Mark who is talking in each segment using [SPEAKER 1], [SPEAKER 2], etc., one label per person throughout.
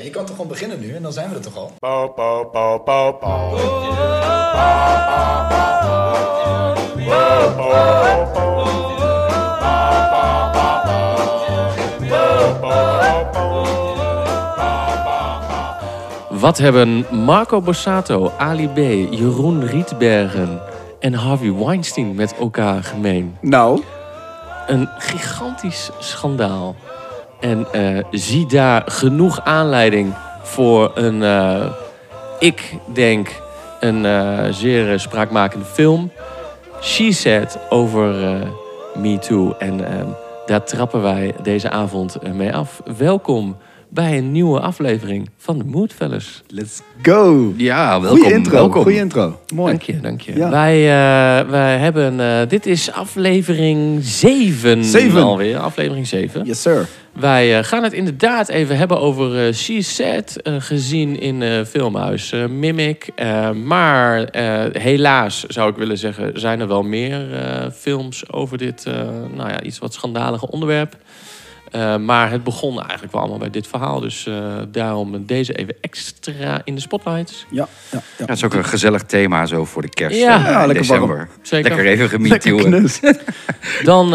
[SPEAKER 1] je kan toch gewoon beginnen nu en dan zijn we er toch al?
[SPEAKER 2] Pauw, pauw, pauw, pauw, pauw.
[SPEAKER 3] Wat hebben Marco Borsato, Ali B, Jeroen Rietbergen en Harvey Weinstein met elkaar gemeen?
[SPEAKER 4] Nou,
[SPEAKER 3] Een gigantisch schandaal. En eh, zie daar genoeg aanleiding voor een, eh, ik denk, een eh, zeer eh, spraakmakende film. She Said over eh Me Too. En eh, daar trappen wij deze avond eh, mee af. Welkom bij een nieuwe aflevering van de Moodfellas.
[SPEAKER 4] let's go.
[SPEAKER 3] Ja, welkom.
[SPEAKER 4] Goeie intro,
[SPEAKER 3] welkom.
[SPEAKER 4] goeie intro. Mooi.
[SPEAKER 3] Dank je, dank je.
[SPEAKER 4] Ja.
[SPEAKER 3] Wij, eh, wij hebben, eh, dit is aflevering 7
[SPEAKER 4] Zeven.
[SPEAKER 3] alweer, aflevering 7.
[SPEAKER 4] Yes, sir.
[SPEAKER 3] Wij eh, gaan het inderdaad even hebben over eh She Said, eh, gezien in eh, Filmhuis eh, Mimic. Eh, maar eh, helaas, zou ik willen zeggen, zijn er wel meer eh, films over dit, eh, nou ja, iets wat schandalige onderwerp. Eh, maar het begon eigenlijk wel allemaal bij dit verhaal. Dus eh, daarom deze even extra in de spotlights.
[SPEAKER 4] Ja, ja, ja.
[SPEAKER 5] Ja, het is ook een gezellig thema zo voor de kerst.
[SPEAKER 3] Ja.
[SPEAKER 5] eh,
[SPEAKER 4] Ja,
[SPEAKER 5] in
[SPEAKER 4] lekker warm.
[SPEAKER 5] december.
[SPEAKER 3] Zeker.
[SPEAKER 5] Lekker even
[SPEAKER 4] Lekker
[SPEAKER 5] gemietiewen.
[SPEAKER 4] knus.
[SPEAKER 3] Dan eh,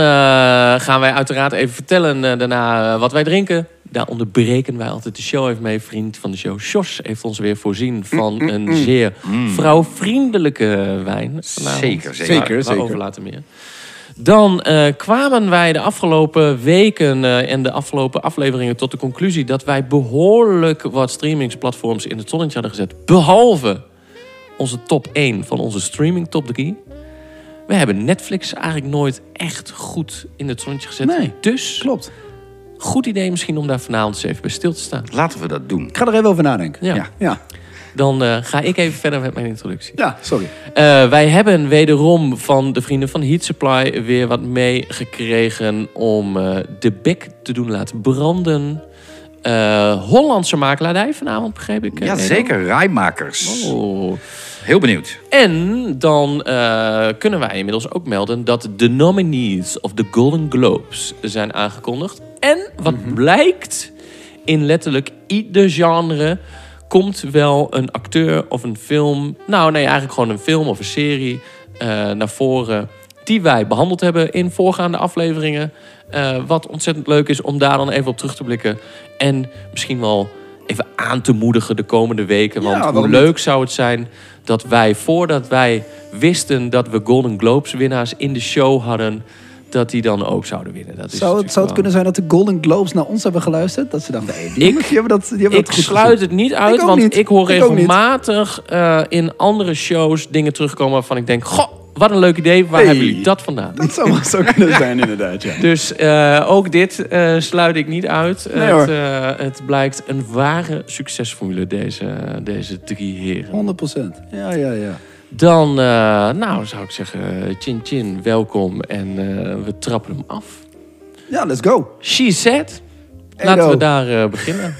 [SPEAKER 3] gaan wij uiteraard even vertellen eh, daarna eh, wat wij drinken. Daar onderbreken wij altijd de show even mee. Vriend van de show, Jos, heeft ons weer
[SPEAKER 5] Mm,
[SPEAKER 3] voorzien van een zeer vrouwvriendelijke wijn. vanavond.
[SPEAKER 5] Zeker, zeker.
[SPEAKER 4] Zeker,
[SPEAKER 3] Waar-
[SPEAKER 4] zeker.
[SPEAKER 3] Waarover later meer. Dan eh, kwamen wij de afgelopen weken eh, en de afgelopen afleveringen tot de conclusie dat wij behoorlijk wat streamingsplatforms in het zonnetje hadden gezet. Behalve onze top 1 van onze streaming top 3. We hebben Netflix eigenlijk nooit echt goed in het zonnetje gezet.
[SPEAKER 4] Nee,
[SPEAKER 3] dus
[SPEAKER 4] Klopt.
[SPEAKER 3] goed idee misschien om daar vanavond eens even bij stil te staan.
[SPEAKER 5] Laten we dat doen.
[SPEAKER 4] Ik ga er even over nadenken.
[SPEAKER 3] Ja.
[SPEAKER 5] Ja.
[SPEAKER 4] Ja,
[SPEAKER 3] Dan eh, ga ik even verder met mijn introductie.
[SPEAKER 4] ja sorry.
[SPEAKER 3] Eh, wij hebben wederom van de vrienden van Heat Supply weer wat meegekregen om eh, de bek te doen laten branden. Eh, Hollandse makelaardij vanavond, begreep ik. eh,
[SPEAKER 5] Ja,
[SPEAKER 3] Edo?
[SPEAKER 5] zeker. Rijmakers.
[SPEAKER 3] Oh.
[SPEAKER 5] Heel benieuwd.
[SPEAKER 3] En dan eh, kunnen wij inmiddels ook melden dat de nominees of de Golden Globes zijn aangekondigd. En wat blijkt, in letterlijk ieder genre komt wel een acteur of een film, nou nee, eigenlijk gewoon een film of een serie eh, naar voren die wij behandeld hebben in voorgaande afleveringen. Eh, wat ontzettend leuk is om daar dan even op terug te blikken. En misschien wel even aan te moedigen de komende weken. Want
[SPEAKER 4] waarom
[SPEAKER 3] hoe
[SPEAKER 4] niet?
[SPEAKER 3] leuk zou het zijn dat wij, voordat wij wisten dat we Golden Globes winnaars in de show hadden, dat die dan ook zouden winnen. Dat is
[SPEAKER 4] Zou het,
[SPEAKER 3] natuurlijk
[SPEAKER 4] zou
[SPEAKER 3] wel-
[SPEAKER 4] het kunnen zijn dat de Golden Globes naar ons hebben geluisterd? Dat ze dachten, hey, die jongens, die hebben dat, die hebben
[SPEAKER 3] Ik
[SPEAKER 4] dat goed
[SPEAKER 3] sluit het niet uit,
[SPEAKER 4] Ik ook
[SPEAKER 3] want
[SPEAKER 4] niet.
[SPEAKER 3] ik hoor
[SPEAKER 4] Ik ook niet.
[SPEAKER 3] regelmatig eh, in andere shows dingen terugkomen waarvan ik denk: Goh, wat een leuk idee, waar
[SPEAKER 4] Hey.
[SPEAKER 3] hebben jullie dat vandaan?
[SPEAKER 4] Dat zou wel zo kunnen zijn, inderdaad, ja.
[SPEAKER 3] Dus eh, ook dit eh, sluit ik niet uit.
[SPEAKER 4] Nee,
[SPEAKER 3] het,
[SPEAKER 4] hoor.
[SPEAKER 3] eh, het blijkt een ware succesformule, deze, deze drie heren.
[SPEAKER 4] 100 procent. Ja, ja, ja.
[SPEAKER 3] Dan, eh, nou zou ik zeggen, Chin Chin, welkom. En eh, we trappen hem af.
[SPEAKER 4] Ja, let's go.
[SPEAKER 3] She Said.
[SPEAKER 4] Edo.
[SPEAKER 3] Laten we daar eh, beginnen.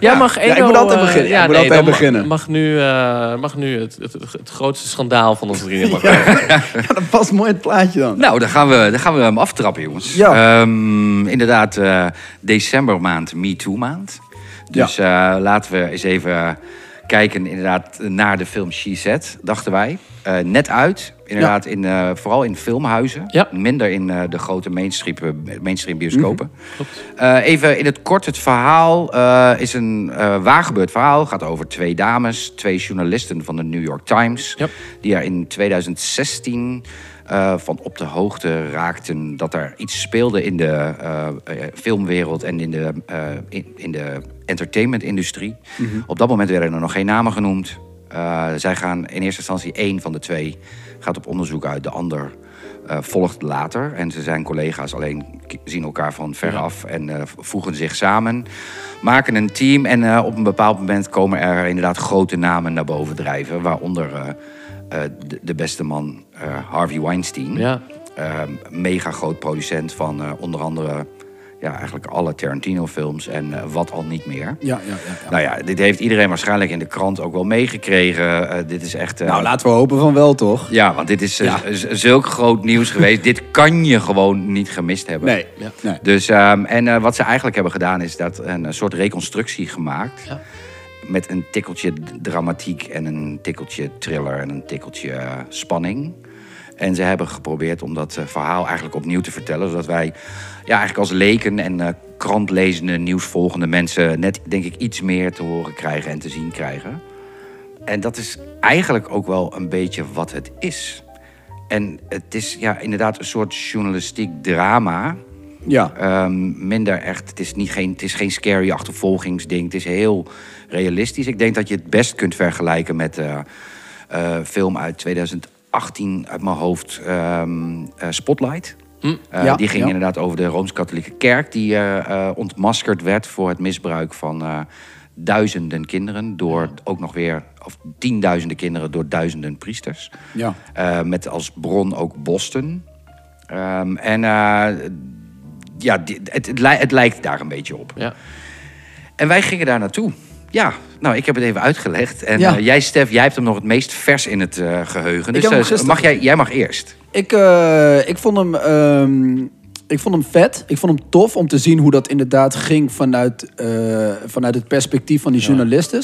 [SPEAKER 3] Jij mag Edo...
[SPEAKER 4] ja, ik moet altijd
[SPEAKER 3] eh,
[SPEAKER 4] beginnen. Ik
[SPEAKER 3] nee,
[SPEAKER 4] moet altijd
[SPEAKER 3] dan ma-
[SPEAKER 4] beginnen.
[SPEAKER 3] Mag nu, eh, mag nu het, het, het grootste schandaal van ons drieën. mag wel.
[SPEAKER 4] Ja, dat past mooi in het plaatje dan.
[SPEAKER 5] Nou, dan gaan we, dan gaan we hem aftrappen, jongens.
[SPEAKER 4] Ja.
[SPEAKER 5] Ehm, inderdaad, eh, decembermaand, MeToo-maand. Dus eh, laten we eens even kijken inderdaad, naar de film She Said, dachten wij. Eh, net uit, inderdaad, in, eh, vooral in filmhuizen.
[SPEAKER 3] Ja.
[SPEAKER 5] Minder in eh, de grote mainstream, eh, mainstream bioscopen.
[SPEAKER 3] Mhm,
[SPEAKER 5] Eh, even in het kort, het verhaal eh, is een eh waargebeurd verhaal. gaat over twee dames, twee journalisten van de New York Times...
[SPEAKER 3] Ja.
[SPEAKER 5] die er in 2016 eh, van op de hoogte raakten... dat er iets speelde in de eh, eh, filmwereld en in de, eh, in, in de entertainmentindustrie.
[SPEAKER 3] Mhm.
[SPEAKER 5] Op dat moment werden er nog geen namen genoemd. Eh, zij gaan in eerste instantie één van de twee gaat op onderzoek uit, de ander... Eh, volgt later. En ze zijn collega's, alleen k- zien elkaar van ver af en eh, v- voegen zich samen. Maken een team en eh, op een bepaald moment komen er inderdaad grote namen naar boven drijven. Waaronder eh, eh, de, de beste man eh, Harvey Weinstein.
[SPEAKER 3] Ja.
[SPEAKER 5] Eh, mega groot producent van eh, onder andere ja, eigenlijk alle Tarantino-films en eh, wat al niet meer.
[SPEAKER 4] Ja, ja, ja. ja.
[SPEAKER 5] Nou ja, dit heeft iedereen waarschijnlijk in de krant ook wel meegekregen. Eh, dit is echt. eh,
[SPEAKER 4] Nou, laten we hopen van wel, toch?
[SPEAKER 5] Ja, want dit is eh,
[SPEAKER 4] Ja.
[SPEAKER 5] z- zulk groot nieuws geweest. dit kan je gewoon niet gemist hebben.
[SPEAKER 4] Nee. Ja. nee.
[SPEAKER 5] Dus, ehm, en eh, wat ze eigenlijk hebben gedaan is dat een, eh, soort reconstructie gemaakt.
[SPEAKER 3] Ja.
[SPEAKER 5] Met een tikkeltje d- dramatiek en een tikkeltje thriller en een tikkeltje eh, spanning. En ze hebben geprobeerd om dat eh, verhaal eigenlijk opnieuw te vertellen. Zodat wij ja, eigenlijk als leken en eh, krantlezende, nieuwsvolgende mensen... net denk ik iets meer te horen krijgen en te zien krijgen. En dat is eigenlijk ook wel een beetje wat het is. En het is ja, inderdaad een soort journalistiek drama...
[SPEAKER 4] Ja.
[SPEAKER 5] Ehm, minder echt. Het is, niet geen, het is geen scary achtervolgingsding. Het is heel realistisch. Ik denk dat je het best kunt vergelijken met eh eh, film uit 2018 uit mijn hoofd. ehm, eh, Spotlight. Eh,
[SPEAKER 4] Hm. ja,
[SPEAKER 5] die ging
[SPEAKER 4] ja.
[SPEAKER 5] inderdaad over de Rooms-Katholieke Kerk. Die eh, eh, ontmaskerd werd voor het misbruik van eh, duizenden kinderen. Door ook nog weer, of tienduizenden kinderen door duizenden priesters.
[SPEAKER 4] Ja.
[SPEAKER 5] Eh, met als bron ook Boston. Ehm, en eh, ja, di- het, het, lij- het lijkt daar een beetje op.
[SPEAKER 3] Ja.
[SPEAKER 5] En wij gingen daar naartoe. Ja, nou, ik heb het even uitgelegd. En
[SPEAKER 4] Ja.
[SPEAKER 5] eh, jij, Stef, jij hebt hem nog het meest vers in het eh, geheugen.
[SPEAKER 4] Ik
[SPEAKER 5] Dus
[SPEAKER 4] heb hem
[SPEAKER 5] eh,
[SPEAKER 4] gisteren
[SPEAKER 5] mag jij, jij mag eerst.
[SPEAKER 4] Ik, eh, ik, vond hem, ehm, ik vond hem vet. Ik vond hem tof om te zien hoe dat inderdaad ging vanuit, eh, vanuit het perspectief van die journalisten.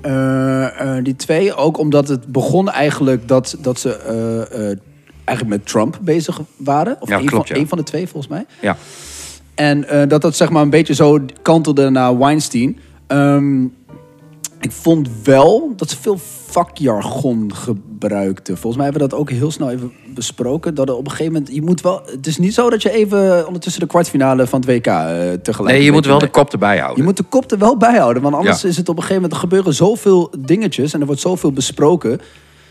[SPEAKER 4] Eh, eh, die twee, ook omdat het begon eigenlijk dat, dat ze eh, eh, eigenlijk met Trump bezig waren. Of
[SPEAKER 5] Ja,
[SPEAKER 4] een,
[SPEAKER 5] klopt,
[SPEAKER 4] van,
[SPEAKER 5] ja.
[SPEAKER 4] een van de twee volgens mij.
[SPEAKER 5] Ja.
[SPEAKER 4] En eh, dat dat zeg maar een beetje zo kantelde naar Weinstein. Ehm, ik vond wel dat ze veel vakjargon gebruikten. Volgens mij hebben we dat ook heel snel even besproken. Dat er op een gegeven moment, je moet wel... Het is niet zo dat je even ondertussen de kwartfinale van het WK eh, tegelijk...
[SPEAKER 5] Nee, je moet wel de
[SPEAKER 4] Nee.
[SPEAKER 5] kop erbij houden.
[SPEAKER 4] Je moet de kop er wel bij houden. Want anders
[SPEAKER 5] Ja.
[SPEAKER 4] is het op een gegeven moment... Er gebeuren zoveel dingetjes en er wordt zoveel besproken...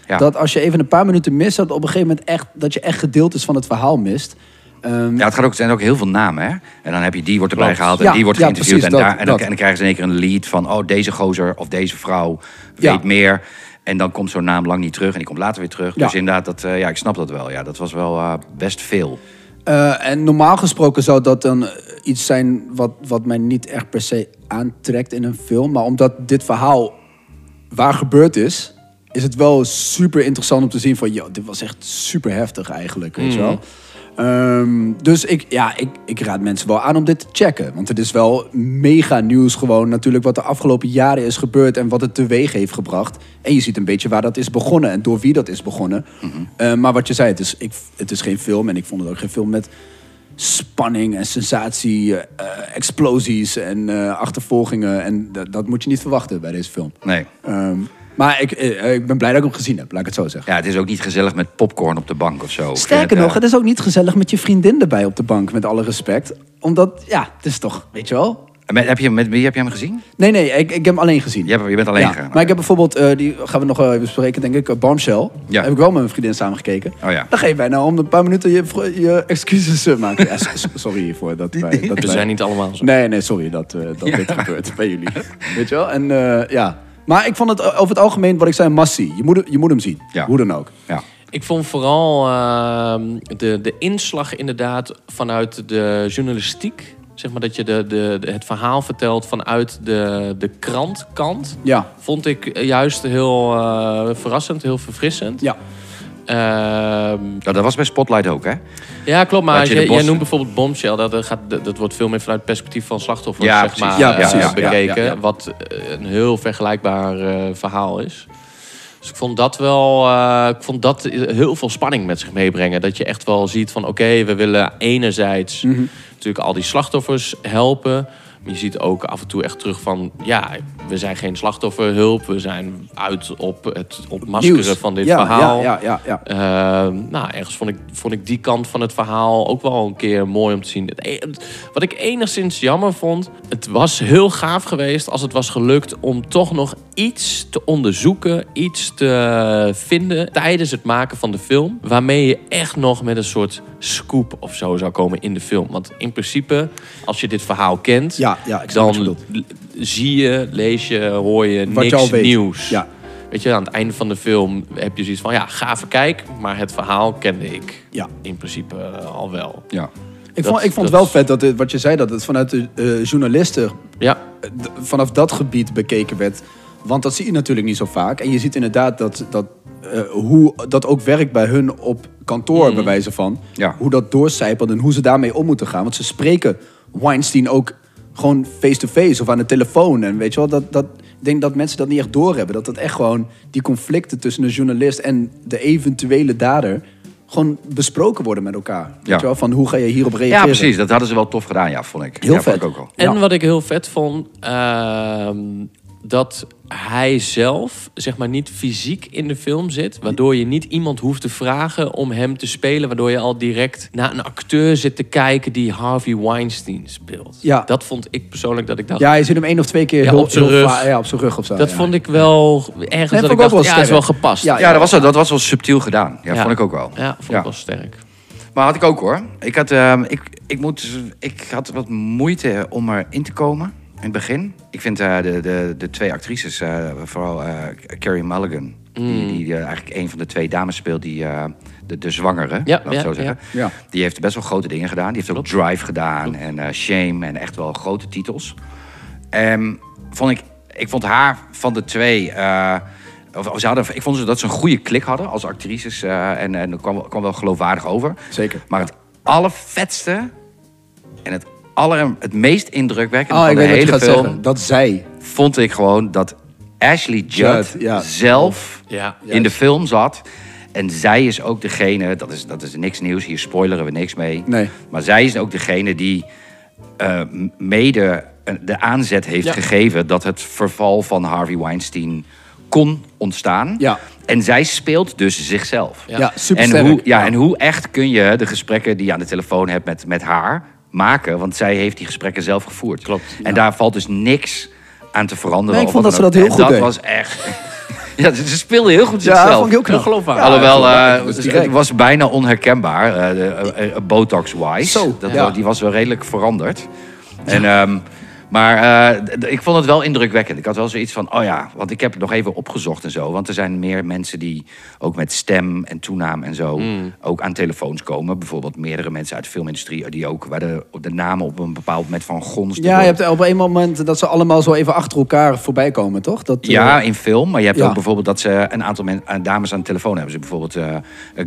[SPEAKER 5] Ja.
[SPEAKER 4] Dat als je even een paar minuten mist, dat op een gegeven moment echt... Dat je echt gedeeltes van het verhaal mist. Ehm,
[SPEAKER 5] Ja, het gaat ook, er zijn ook heel veel namen, hè? En dan heb je die wordt erbij
[SPEAKER 3] Klopt.
[SPEAKER 5] gehaald en
[SPEAKER 4] Ja,
[SPEAKER 5] die wordt
[SPEAKER 4] ja,
[SPEAKER 5] geïnterviewd.
[SPEAKER 4] precies,
[SPEAKER 5] en,
[SPEAKER 4] dat,
[SPEAKER 5] daar, en, dan,
[SPEAKER 4] dat.
[SPEAKER 5] en dan krijgen ze in één keer een lead van... oh, deze gozer of deze vrouw weet
[SPEAKER 4] Ja.
[SPEAKER 5] meer. En dan komt zo'n naam lang niet terug en die komt later weer terug.
[SPEAKER 4] Ja.
[SPEAKER 5] Dus inderdaad, dat, eh, ja, ik snap dat wel. Ja, dat was wel eh, best veel.
[SPEAKER 4] Eh, en normaal gesproken zou dat dan eh, iets zijn wat, wat mij niet echt per se aantrekt in een film. Maar omdat dit verhaal waar gebeurd is, is het wel super interessant om te zien van... Yo, dit was echt super heftig eigenlijk, weet je wel. Ehm, dus ik, ja, ik, ik raad mensen wel aan om dit te checken. Want het is wel mega nieuws gewoon natuurlijk wat de afgelopen jaren is gebeurd... en wat het teweeg heeft gebracht. En je ziet een beetje waar dat is begonnen en door wie dat is begonnen. Eh, maar wat je zei, het is, ik, het is geen film en ik vond het ook geen film met spanning en sensatie, eh, eh, explosies en eh, achtervolgingen. En dat- dat moet je niet verwachten bij deze film.
[SPEAKER 5] Nee.
[SPEAKER 4] Ehm, maar ik, eh, ik ben blij dat ik hem gezien heb, laat ik het zo zeggen.
[SPEAKER 5] Ja, het is ook niet gezellig met popcorn op de bank of zo. Ik vind
[SPEAKER 4] Sterker
[SPEAKER 5] het,
[SPEAKER 4] nog,
[SPEAKER 5] eh,
[SPEAKER 4] het is ook niet gezellig met je vriendin erbij op de bank, met alle respect. Omdat, ja, het is toch, weet je wel?
[SPEAKER 5] met, heb je, met wie heb je hem gezien?
[SPEAKER 4] Nee, nee, ik, ik heb hem alleen gezien.
[SPEAKER 5] Je, hebt, je bent alleen
[SPEAKER 4] Ja,
[SPEAKER 5] gegaan.
[SPEAKER 4] Maar ik heb bijvoorbeeld, eh, die gaan we nog wel even bespreken, denk ik, eh, Bombshell.
[SPEAKER 5] Ja.
[SPEAKER 4] Heb ik wel met mijn vriendin samen gekeken.
[SPEAKER 5] Oh ja.
[SPEAKER 4] Dan ga je bijna om een paar minuten je, vro- je excuses eh, maken. Ja, s- s- sorry hiervoor. Dat wij, dat
[SPEAKER 3] We
[SPEAKER 4] wij-
[SPEAKER 3] zijn niet allemaal zo.
[SPEAKER 4] Nee, nee, sorry dat, eh, dat dit gebeurt bij jullie. Weet je wel? En eh, ja. Maar ik vond het eh, over het algemeen, wat ik zei, massie. Je moet, je moet hem zien.
[SPEAKER 5] Ja.
[SPEAKER 4] Hoe dan ook.
[SPEAKER 5] Ja.
[SPEAKER 3] Ik vond vooral ehm, de, de inslag inderdaad vanuit de journalistiek. Zeg maar dat je de, de, de- het verhaal vertelt vanuit de, de krantkant.
[SPEAKER 4] Ja.
[SPEAKER 3] Vond ik eh, juist heel eh, verrassend, heel verfrissend.
[SPEAKER 4] Ja.
[SPEAKER 3] Ehm,
[SPEAKER 5] Nou, dat was bij Spotlight ook, hè?
[SPEAKER 3] ja, klopt. Maar
[SPEAKER 5] Had
[SPEAKER 3] als
[SPEAKER 5] je
[SPEAKER 3] jij,
[SPEAKER 5] de bos-
[SPEAKER 3] jij noemt bijvoorbeeld Bombshell. Dat, eh, gaat, dat dat wordt veel meer vanuit het perspectief van slachtoffers
[SPEAKER 5] Ja,
[SPEAKER 3] zeg
[SPEAKER 5] precies.
[SPEAKER 3] maar,
[SPEAKER 4] Ja,
[SPEAKER 3] eh,
[SPEAKER 4] precies. Ja,
[SPEAKER 3] bekeken.
[SPEAKER 4] ja, ja.
[SPEAKER 3] Wat eh, een heel vergelijkbaar eh, verhaal is. Dus ik vond dat wel... eh, ik vond dat heel veel spanning met zich meebrengen. Dat je echt wel ziet van... Oké, we willen enerzijds
[SPEAKER 4] Mhm.
[SPEAKER 3] natuurlijk al die slachtoffers helpen... Maar je ziet ook af en toe echt terug van... ja, we zijn geen slachtofferhulp. We zijn uit op het ontmaskeren
[SPEAKER 4] Nieuws.
[SPEAKER 3] van dit
[SPEAKER 4] Ja,
[SPEAKER 3] verhaal.
[SPEAKER 4] Ja, ja, ja. ja.
[SPEAKER 3] Ehm, nou, ergens vond ik, vond ik die kant van het verhaal ook wel een keer mooi om te zien. Het e- het- wat ik enigszins jammer vond, het was heel gaaf geweest als het was gelukt om toch nog iets te onderzoeken, iets te vinden tijdens het maken van de film. Waarmee je echt nog met een soort scoop of zo zou komen in de film. Want in principe, als je dit verhaal kent,
[SPEAKER 4] Ja, ja, ik snap wat je
[SPEAKER 3] dan l- zie je, lees je, hoor je
[SPEAKER 4] Wat je
[SPEAKER 3] niks
[SPEAKER 4] al weet.
[SPEAKER 3] nieuws.
[SPEAKER 4] Ja.
[SPEAKER 3] Weet je, aan het einde van de film heb je zoiets van... ja, gave kijk, maar het verhaal kende ik
[SPEAKER 4] Ja.
[SPEAKER 3] in principe eh, al wel.
[SPEAKER 5] Ja.
[SPEAKER 4] Ik
[SPEAKER 3] Dat-
[SPEAKER 4] vond, ik vond het
[SPEAKER 3] dat
[SPEAKER 4] wel
[SPEAKER 3] is-
[SPEAKER 4] vet dat het, wat je zei, dat het vanuit de eh, journalisten
[SPEAKER 3] Ja,
[SPEAKER 4] eh, d- vanaf dat gebied bekeken werd. Want dat zie je natuurlijk niet zo vaak. En je ziet inderdaad dat, dat eh, hoe dat ook werkt bij hun op kantoor, bij wijze van.
[SPEAKER 5] Mm. Ja.
[SPEAKER 4] Hoe dat doorcijpelt en hoe ze daarmee om moeten gaan. Want ze spreken Weinstein ook gewoon face-to-face of aan de telefoon. En weet je wel, dat, dat, ik denk dat mensen dat niet echt doorhebben. Dat dat echt gewoon die conflicten tussen de journalist en de eventuele dader... gewoon besproken worden met elkaar. Weet
[SPEAKER 5] Ja.
[SPEAKER 4] je wel, van hoe ga je hierop reageren?
[SPEAKER 5] Ja, precies. Dat hadden ze wel tof gedaan, ja, vond ik.
[SPEAKER 4] Heel
[SPEAKER 5] ja,
[SPEAKER 4] vet.
[SPEAKER 5] Vond ik ook al.
[SPEAKER 3] En
[SPEAKER 4] Ja.
[SPEAKER 3] wat ik heel vet vond, ehm, dat hij zelf zeg maar niet fysiek in de film zit, waardoor je niet iemand hoeft te vragen om hem te spelen, waardoor je al direct naar een acteur zit te kijken die Harvey Weinstein speelt.
[SPEAKER 4] Ja.
[SPEAKER 3] Dat vond ik persoonlijk dat ik dacht.
[SPEAKER 4] Ja, je ziet hem één of twee keer
[SPEAKER 3] Ja,
[SPEAKER 4] heel,
[SPEAKER 3] op zijn
[SPEAKER 4] heel
[SPEAKER 3] rug.
[SPEAKER 4] va- Ja, op zijn rug of zo.
[SPEAKER 3] dat
[SPEAKER 4] ja.
[SPEAKER 3] vond ik wel ergens
[SPEAKER 4] Nee,
[SPEAKER 3] dat ik
[SPEAKER 4] vond ik ook
[SPEAKER 3] dacht,
[SPEAKER 4] wel
[SPEAKER 3] ja, is wel
[SPEAKER 4] sterk.
[SPEAKER 3] gepast.
[SPEAKER 4] Ja,
[SPEAKER 5] Ja, dat was, wel- dat was wel subtiel gedaan. Ja, vond ik ook wel.
[SPEAKER 3] Ja, vond
[SPEAKER 5] Ja.
[SPEAKER 3] ik wel sterk.
[SPEAKER 5] Maar had ik ook hoor. Ik had, ehm, ik, ik, moet, ik had wat moeite om erin te komen in het begin. Ik vind eh, de, de, de twee actrices, eh, vooral eh, Carrie Mulligan,
[SPEAKER 3] Mm.
[SPEAKER 5] die, die eh, eigenlijk een van de twee dames speelt, die, eh, de, de zwangere,
[SPEAKER 3] Ja,
[SPEAKER 5] laat ik
[SPEAKER 3] ja,
[SPEAKER 5] zo zeggen.
[SPEAKER 4] ja. Ja.
[SPEAKER 5] Die heeft best wel grote dingen gedaan. Die heeft ook Drive gedaan en eh, Shame en echt wel grote titels. Ehm, vond ik, ik vond haar van de twee. eh, of, of ze hadden, ik vond ze dat ze een goede klik hadden als actrices. eh, en en dat kwam, wel- kwam wel geloofwaardig over.
[SPEAKER 4] Zeker.
[SPEAKER 5] Maar het allervetste en het, aller, het meest indrukwekkende
[SPEAKER 4] Oh, ik
[SPEAKER 5] van de
[SPEAKER 4] weet wat je
[SPEAKER 5] hele
[SPEAKER 4] gaat
[SPEAKER 5] film...
[SPEAKER 4] zeggen. Dat zij.
[SPEAKER 5] vond ik gewoon dat Ashley Judd,
[SPEAKER 4] Judd, ja.
[SPEAKER 5] zelf
[SPEAKER 3] Ja.
[SPEAKER 5] in de film zat. En zij is ook degene, dat is, dat is niks nieuws, hier spoileren we niks mee.
[SPEAKER 4] Nee.
[SPEAKER 5] Maar zij is ook degene die eh, m- mede eh, de aanzet heeft
[SPEAKER 3] Ja.
[SPEAKER 5] gegeven dat het verval van Harvey Weinstein kon ontstaan.
[SPEAKER 4] Ja.
[SPEAKER 5] En zij speelt dus zichzelf.
[SPEAKER 4] Ja, supersterk. Nou.
[SPEAKER 5] En hoe, ja,
[SPEAKER 4] Ja.
[SPEAKER 5] en hoe echt kun je de gesprekken die je aan de telefoon hebt met, met haar maken? Want zij heeft die gesprekken zelf gevoerd. Klopt. En daar valt dus niks aan te veranderen.
[SPEAKER 4] Nee, ik
[SPEAKER 5] of
[SPEAKER 4] vond
[SPEAKER 5] wat
[SPEAKER 4] dat
[SPEAKER 5] dan
[SPEAKER 4] ze dat
[SPEAKER 5] ook.
[SPEAKER 4] heel
[SPEAKER 5] En
[SPEAKER 4] goed
[SPEAKER 5] Dat was echt... ja, ze ze speelde heel goed zichzelf.
[SPEAKER 4] vond ik heel knap.
[SPEAKER 3] Ongeloofwaardig.
[SPEAKER 5] Alhoewel, eh,
[SPEAKER 4] dat is
[SPEAKER 5] het-
[SPEAKER 4] direct.
[SPEAKER 5] het was bijna onherkenbaar, eh, de- eh, eh, botox-wise.
[SPEAKER 4] Zo,
[SPEAKER 5] Dat
[SPEAKER 4] ja.
[SPEAKER 5] wel- Die was wel redelijk veranderd. En, ehm, maar eh, d- d- ik vond het wel indrukwekkend. Ik had wel zoiets van, oh ja, want ik heb het nog even opgezocht en zo. Want er zijn meer mensen die ook met stem en toenaam en zo ook aan telefoons komen. Bijvoorbeeld meerdere mensen uit de filmindustrie eh, die ook, waar de, de namen op een bepaald moment van gonsden.
[SPEAKER 4] Ja, je hebt op een moment dat ze allemaal zo even achter elkaar voorbij komen, toch? Dat, eh,
[SPEAKER 5] Ja, in film. Maar je hebt
[SPEAKER 4] Ja.
[SPEAKER 5] ook bijvoorbeeld dat ze een aantal men, eh, dames aan de telefoon hebben. Ze bijvoorbeeld eh,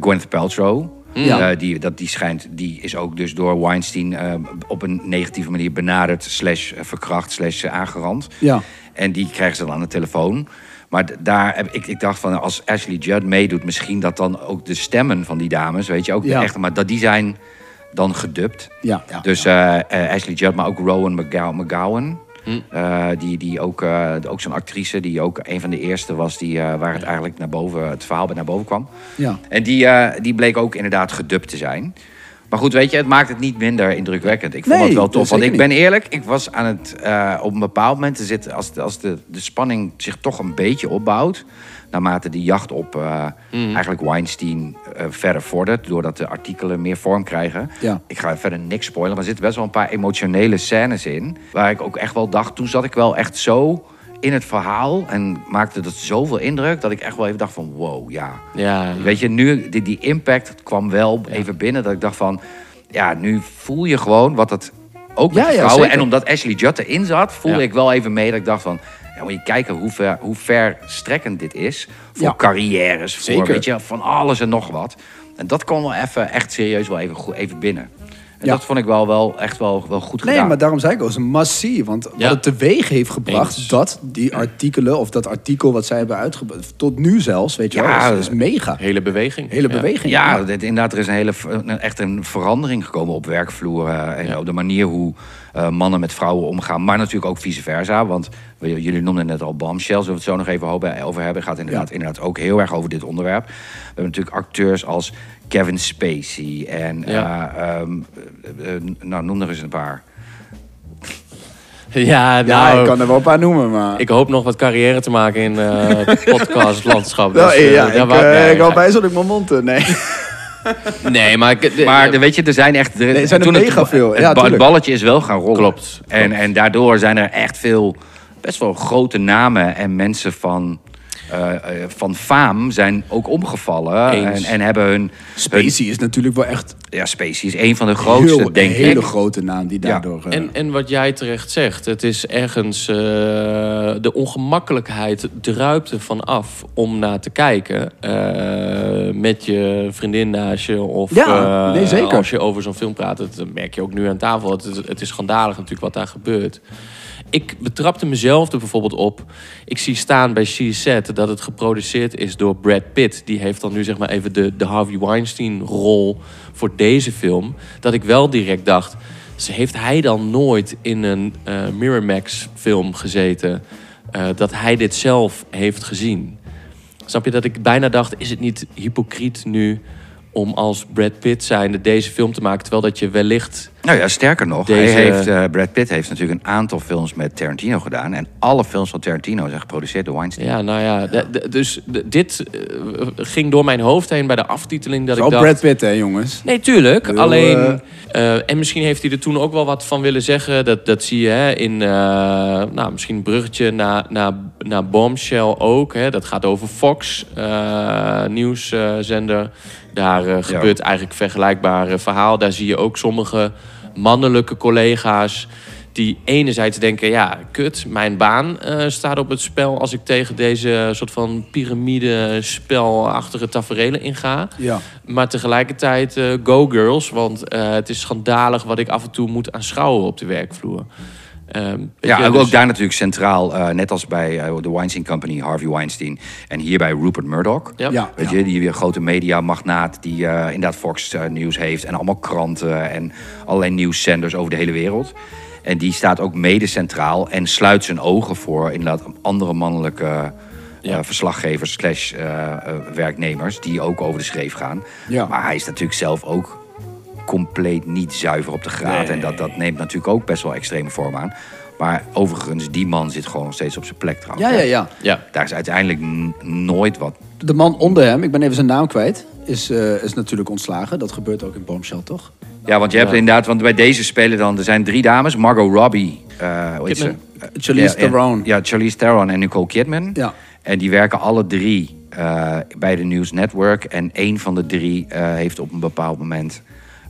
[SPEAKER 5] Gwyneth Paltrow.
[SPEAKER 4] Ja.
[SPEAKER 5] Eh, die, dat, die, schijnt, die is ook dus door Weinstein eh, op een negatieve manier benaderd, slash eh, verkracht, slash eh, aangerand.
[SPEAKER 4] Ja.
[SPEAKER 5] En die krijgen ze dan aan de telefoon. Maar d- daar heb ik, ik dacht van, als Ashley Judd meedoet, misschien dat dan ook de stemmen van die dames, weet je, ook
[SPEAKER 4] Ja.
[SPEAKER 5] de echte, maar dat die zijn dan gedubt.
[SPEAKER 4] Ja, ja,
[SPEAKER 5] dus eh, eh, Ashley Judd, maar ook Rowan McGow- McGowan. eh, die, die ook, eh, ook zo'n actrice, die ook een van de eerste was die, eh, waar het eigenlijk naar boven, het verhaal bij naar boven kwam.
[SPEAKER 4] Ja.
[SPEAKER 5] En die, eh, die bleek ook inderdaad gedubt te zijn. Maar goed, weet je, het maakt het niet minder indrukwekkend. Ik vond
[SPEAKER 4] Nee,
[SPEAKER 5] het wel
[SPEAKER 4] dat
[SPEAKER 5] tof. Want
[SPEAKER 4] zeker
[SPEAKER 5] ik ben eerlijk, ik was aan het. eh, op een bepaald moment te zitten. Als, de- als de, de spanning zich toch een beetje opbouwt. naarmate die jacht op eh, eigenlijk Weinstein eh, verder vordert. doordat de artikelen meer vorm krijgen.
[SPEAKER 4] Ja.
[SPEAKER 5] Ik ga verder niks spoilen, maar er zitten best wel een paar emotionele scènes in. Waar ik ook echt wel dacht, toen zat ik wel echt zo in het verhaal. En maakte dat zoveel indruk, dat ik echt wel even dacht van wow, ja.
[SPEAKER 3] Ja.
[SPEAKER 5] Eh, Weet je, nu, die, die impact dat kwam wel even binnen. Dat ik dacht van, ja, nu voel je gewoon wat dat ook met
[SPEAKER 4] Ja,
[SPEAKER 5] de
[SPEAKER 4] ja,
[SPEAKER 5] vrouwen.
[SPEAKER 4] zeker.
[SPEAKER 5] en omdat Ashley Judd erin zat, voelde
[SPEAKER 3] Ja.
[SPEAKER 5] ik wel even mee dat ik dacht van... Ja, moet je kijken hoe, ver, hoe verstrekkend dit is. Voor
[SPEAKER 4] Ja.
[SPEAKER 5] carrières, voor
[SPEAKER 4] Zeker.
[SPEAKER 5] Weet je, van alles en nog wat. En dat kwam wel even, echt serieus wel even, goed, even binnen. En
[SPEAKER 4] Ja.
[SPEAKER 5] dat vond ik wel, wel echt wel, wel goed
[SPEAKER 4] Nee,
[SPEAKER 5] gedaan.
[SPEAKER 4] maar daarom zei ik al, het is een massie. Want wat
[SPEAKER 3] Ja.
[SPEAKER 4] het teweeg heeft gebracht,
[SPEAKER 3] Eens.
[SPEAKER 4] dat die artikelen... of dat artikel wat zij hebben uitgebracht, tot nu zelfs, weet je
[SPEAKER 5] Ja,
[SPEAKER 4] wel, is, is mega.
[SPEAKER 3] Hele beweging.
[SPEAKER 4] Hele
[SPEAKER 3] Ja.
[SPEAKER 4] beweging.
[SPEAKER 5] Ja, dit, inderdaad, er is een hele, ver- een- echt een verandering gekomen op werkvloer. eh, en op de manier hoe eh, mannen met vrouwen omgaan. Maar natuurlijk ook vice versa. Want we- jullie noemden net al bombshells. Zullen we het zo nog even ho- over hebben? Gaat inderdaad,
[SPEAKER 4] Ja.
[SPEAKER 5] inderdaad ook heel erg over dit onderwerp. We hebben natuurlijk acteurs als Kevin Spacey. En
[SPEAKER 3] Ja.
[SPEAKER 5] eh, ehm, eh, eh, nou, noem er eens een paar.
[SPEAKER 3] Ja,
[SPEAKER 4] Ja,
[SPEAKER 3] nou,
[SPEAKER 4] ik kan er wel een paar noemen, maar...
[SPEAKER 3] Ik hoop nog wat carrière te maken in eh, het podcastlandschap.
[SPEAKER 4] Nou,
[SPEAKER 3] Dus, eh,
[SPEAKER 4] ja,
[SPEAKER 3] daar
[SPEAKER 4] ik,
[SPEAKER 3] wou-
[SPEAKER 4] eh,
[SPEAKER 3] nee,
[SPEAKER 4] ik hou bij zodat ik mijn mond... eh, Nee.
[SPEAKER 3] Nee, maar... Ik,
[SPEAKER 5] Maar de- weet je, er zijn echt... Er,
[SPEAKER 4] er zijn er
[SPEAKER 5] het-
[SPEAKER 4] mega veel.
[SPEAKER 5] Het,
[SPEAKER 4] Ja,
[SPEAKER 5] ba- het
[SPEAKER 4] tuurlijk.
[SPEAKER 5] balletje is wel gaan rollen.
[SPEAKER 3] Klopt,
[SPEAKER 5] En, en daardoor zijn er echt veel, best wel grote namen en mensen van eh, eh, van faam zijn ook omgevallen.
[SPEAKER 3] Eens.
[SPEAKER 5] En, en hebben hun...
[SPEAKER 4] Spacey is natuurlijk wel echt
[SPEAKER 5] Ja, Spacey is een van de grootste,
[SPEAKER 4] heel,
[SPEAKER 5] denk
[SPEAKER 4] een hele
[SPEAKER 5] ik.
[SPEAKER 4] grote naam die daardoor... eh,
[SPEAKER 3] En, en wat jij terecht zegt, het is ergens eh, de ongemakkelijkheid druipt er van af om naar te kijken. eh, met je vriendin naast je of
[SPEAKER 4] Ja,
[SPEAKER 3] eh,
[SPEAKER 4] nee, zeker.
[SPEAKER 3] als je over zo'n film praat. Dat eh, merk je ook nu aan tafel. Het, is- het is schandalig natuurlijk wat daar gebeurt. Ik betrapte mezelf er bijvoorbeeld op. Ik zie staan bij CZ dat het geproduceerd is door Brad Pitt. Die heeft dan nu zeg maar even de, de Harvey Weinstein-rol voor deze film. Dat ik wel direct dacht, ze- heeft hij dan nooit in een eh, Miramax-film gezeten... eh, dat hij dit zelf heeft gezien? Snap je dat ik bijna dacht, is het niet hypocriet nu... om als Brad Pitt zijnde deze film te maken... terwijl dat je wellicht...
[SPEAKER 5] Nou ja, sterker nog,
[SPEAKER 3] Deze-
[SPEAKER 5] hij heeft, eh, Brad Pitt heeft natuurlijk een aantal films met Tarantino gedaan. En alle films van Tarantino zijn geproduceerd door Weinstein.
[SPEAKER 3] Ja, nou ja, d- d- dus d- dit eh, ging door mijn hoofd heen bij de aftiteling dat
[SPEAKER 4] Vooral
[SPEAKER 3] ik dacht...
[SPEAKER 4] Oh, Brad Pitt, hè, jongens?
[SPEAKER 3] Nee, tuurlijk.
[SPEAKER 4] Wil,
[SPEAKER 3] Alleen,
[SPEAKER 4] eh,
[SPEAKER 3] eh, en misschien heeft hij er toen ook wel wat van willen zeggen. Dat, dat zie je hè, in, eh, nou, misschien een bruggetje naar, naar, naar Bombshell ook. Hè. Dat gaat over Fox, eh, nieuwszender. Daar eh, gebeurt eigenlijk vergelijkbaar verhaal. Daar zie je ook sommige mannelijke collega's die enerzijds denken, ja, kut, mijn baan eh, staat op het spel... als ik tegen deze soort van piramide-spelachtige taferelen inga.
[SPEAKER 4] Ja.
[SPEAKER 3] Maar tegelijkertijd eh, go girls, want eh, het is schandalig wat ik af en toe moet aanschouwen op de werkvloer. Ehm, weet
[SPEAKER 5] Ja,
[SPEAKER 3] je,
[SPEAKER 5] ook,
[SPEAKER 3] dus-
[SPEAKER 5] ook daar natuurlijk centraal, eh, net als bij eh, de Weinstein Company, Harvey Weinstein. En hier bij Rupert Murdoch.
[SPEAKER 3] Ja.
[SPEAKER 4] Ja.
[SPEAKER 5] Weet je, die weer grote mediamagnaat die eh, inderdaad Fox eh, Nieuws heeft. En allemaal kranten en allerlei nieuwszenders over de hele wereld. En die staat ook mede centraal en sluit zijn ogen voor inderdaad andere mannelijke eh,
[SPEAKER 3] Ja.
[SPEAKER 5] verslaggevers slash eh, eh, werknemers die ook over de schreef gaan.
[SPEAKER 4] Ja.
[SPEAKER 5] Maar hij is natuurlijk zelf ook compleet niet zuiver op de graad. En dat, dat neemt natuurlijk ook best wel extreme vorm aan. Maar overigens, die man zit gewoon nog steeds op zijn plek trouwens.
[SPEAKER 4] Ja, ja, ja.
[SPEAKER 3] Ja,
[SPEAKER 5] Daar is uiteindelijk n- nooit wat
[SPEAKER 4] De man onder hem, ik ben even zijn naam kwijt, is, eh, is natuurlijk ontslagen. Dat gebeurt ook in Bombshell, toch?
[SPEAKER 5] Ja, want je hebt inderdaad, want bij deze spelen dan, er zijn drie dames. Margot Robbie. eh hoe heet ze?
[SPEAKER 3] Kidman.
[SPEAKER 5] Eh,
[SPEAKER 4] Charlize
[SPEAKER 5] ja, en-
[SPEAKER 4] Theron.
[SPEAKER 5] Ja, Charlize Theron en Nicole Kidman.
[SPEAKER 4] Ja.
[SPEAKER 5] En die werken alle drie eh, bij de News Network. En één van de drie eh, heeft op een bepaald moment,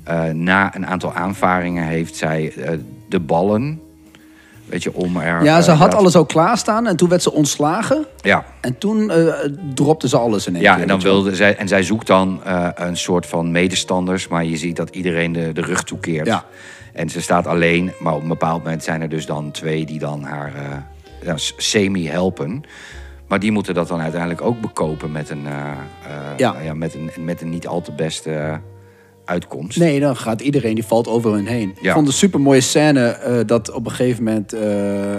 [SPEAKER 5] eh, na een aantal aanvaringen, heeft zij eh, de ballen. Weet je, om er...
[SPEAKER 4] Ja, ze
[SPEAKER 5] eh,
[SPEAKER 4] had
[SPEAKER 5] dat-
[SPEAKER 4] alles al klaarstaan en toen werd ze ontslagen.
[SPEAKER 5] Ja.
[SPEAKER 4] En toen eh dropte ze alles in één
[SPEAKER 5] Ja,
[SPEAKER 4] keer,
[SPEAKER 5] en, dan
[SPEAKER 4] weet je wel.
[SPEAKER 5] wilde zij, en zij zoekt dan eh, een soort van medestanders, maar je ziet dat iedereen de, de rug toekeert.
[SPEAKER 4] Ja.
[SPEAKER 5] En ze staat alleen, maar op een bepaald moment zijn er dus dan twee die dan haar eh, ja, s- semi helpen. Maar die moeten dat dan uiteindelijk ook bekopen met een, eh, eh,
[SPEAKER 4] Ja.
[SPEAKER 5] nou ja, met een, met een niet al te beste eh, uitkomst.
[SPEAKER 4] Nee, dan gaat iedereen, die valt over hun heen.
[SPEAKER 5] Ja.
[SPEAKER 4] Ik vond een supermooie scène eh, dat op een gegeven moment eh, eh,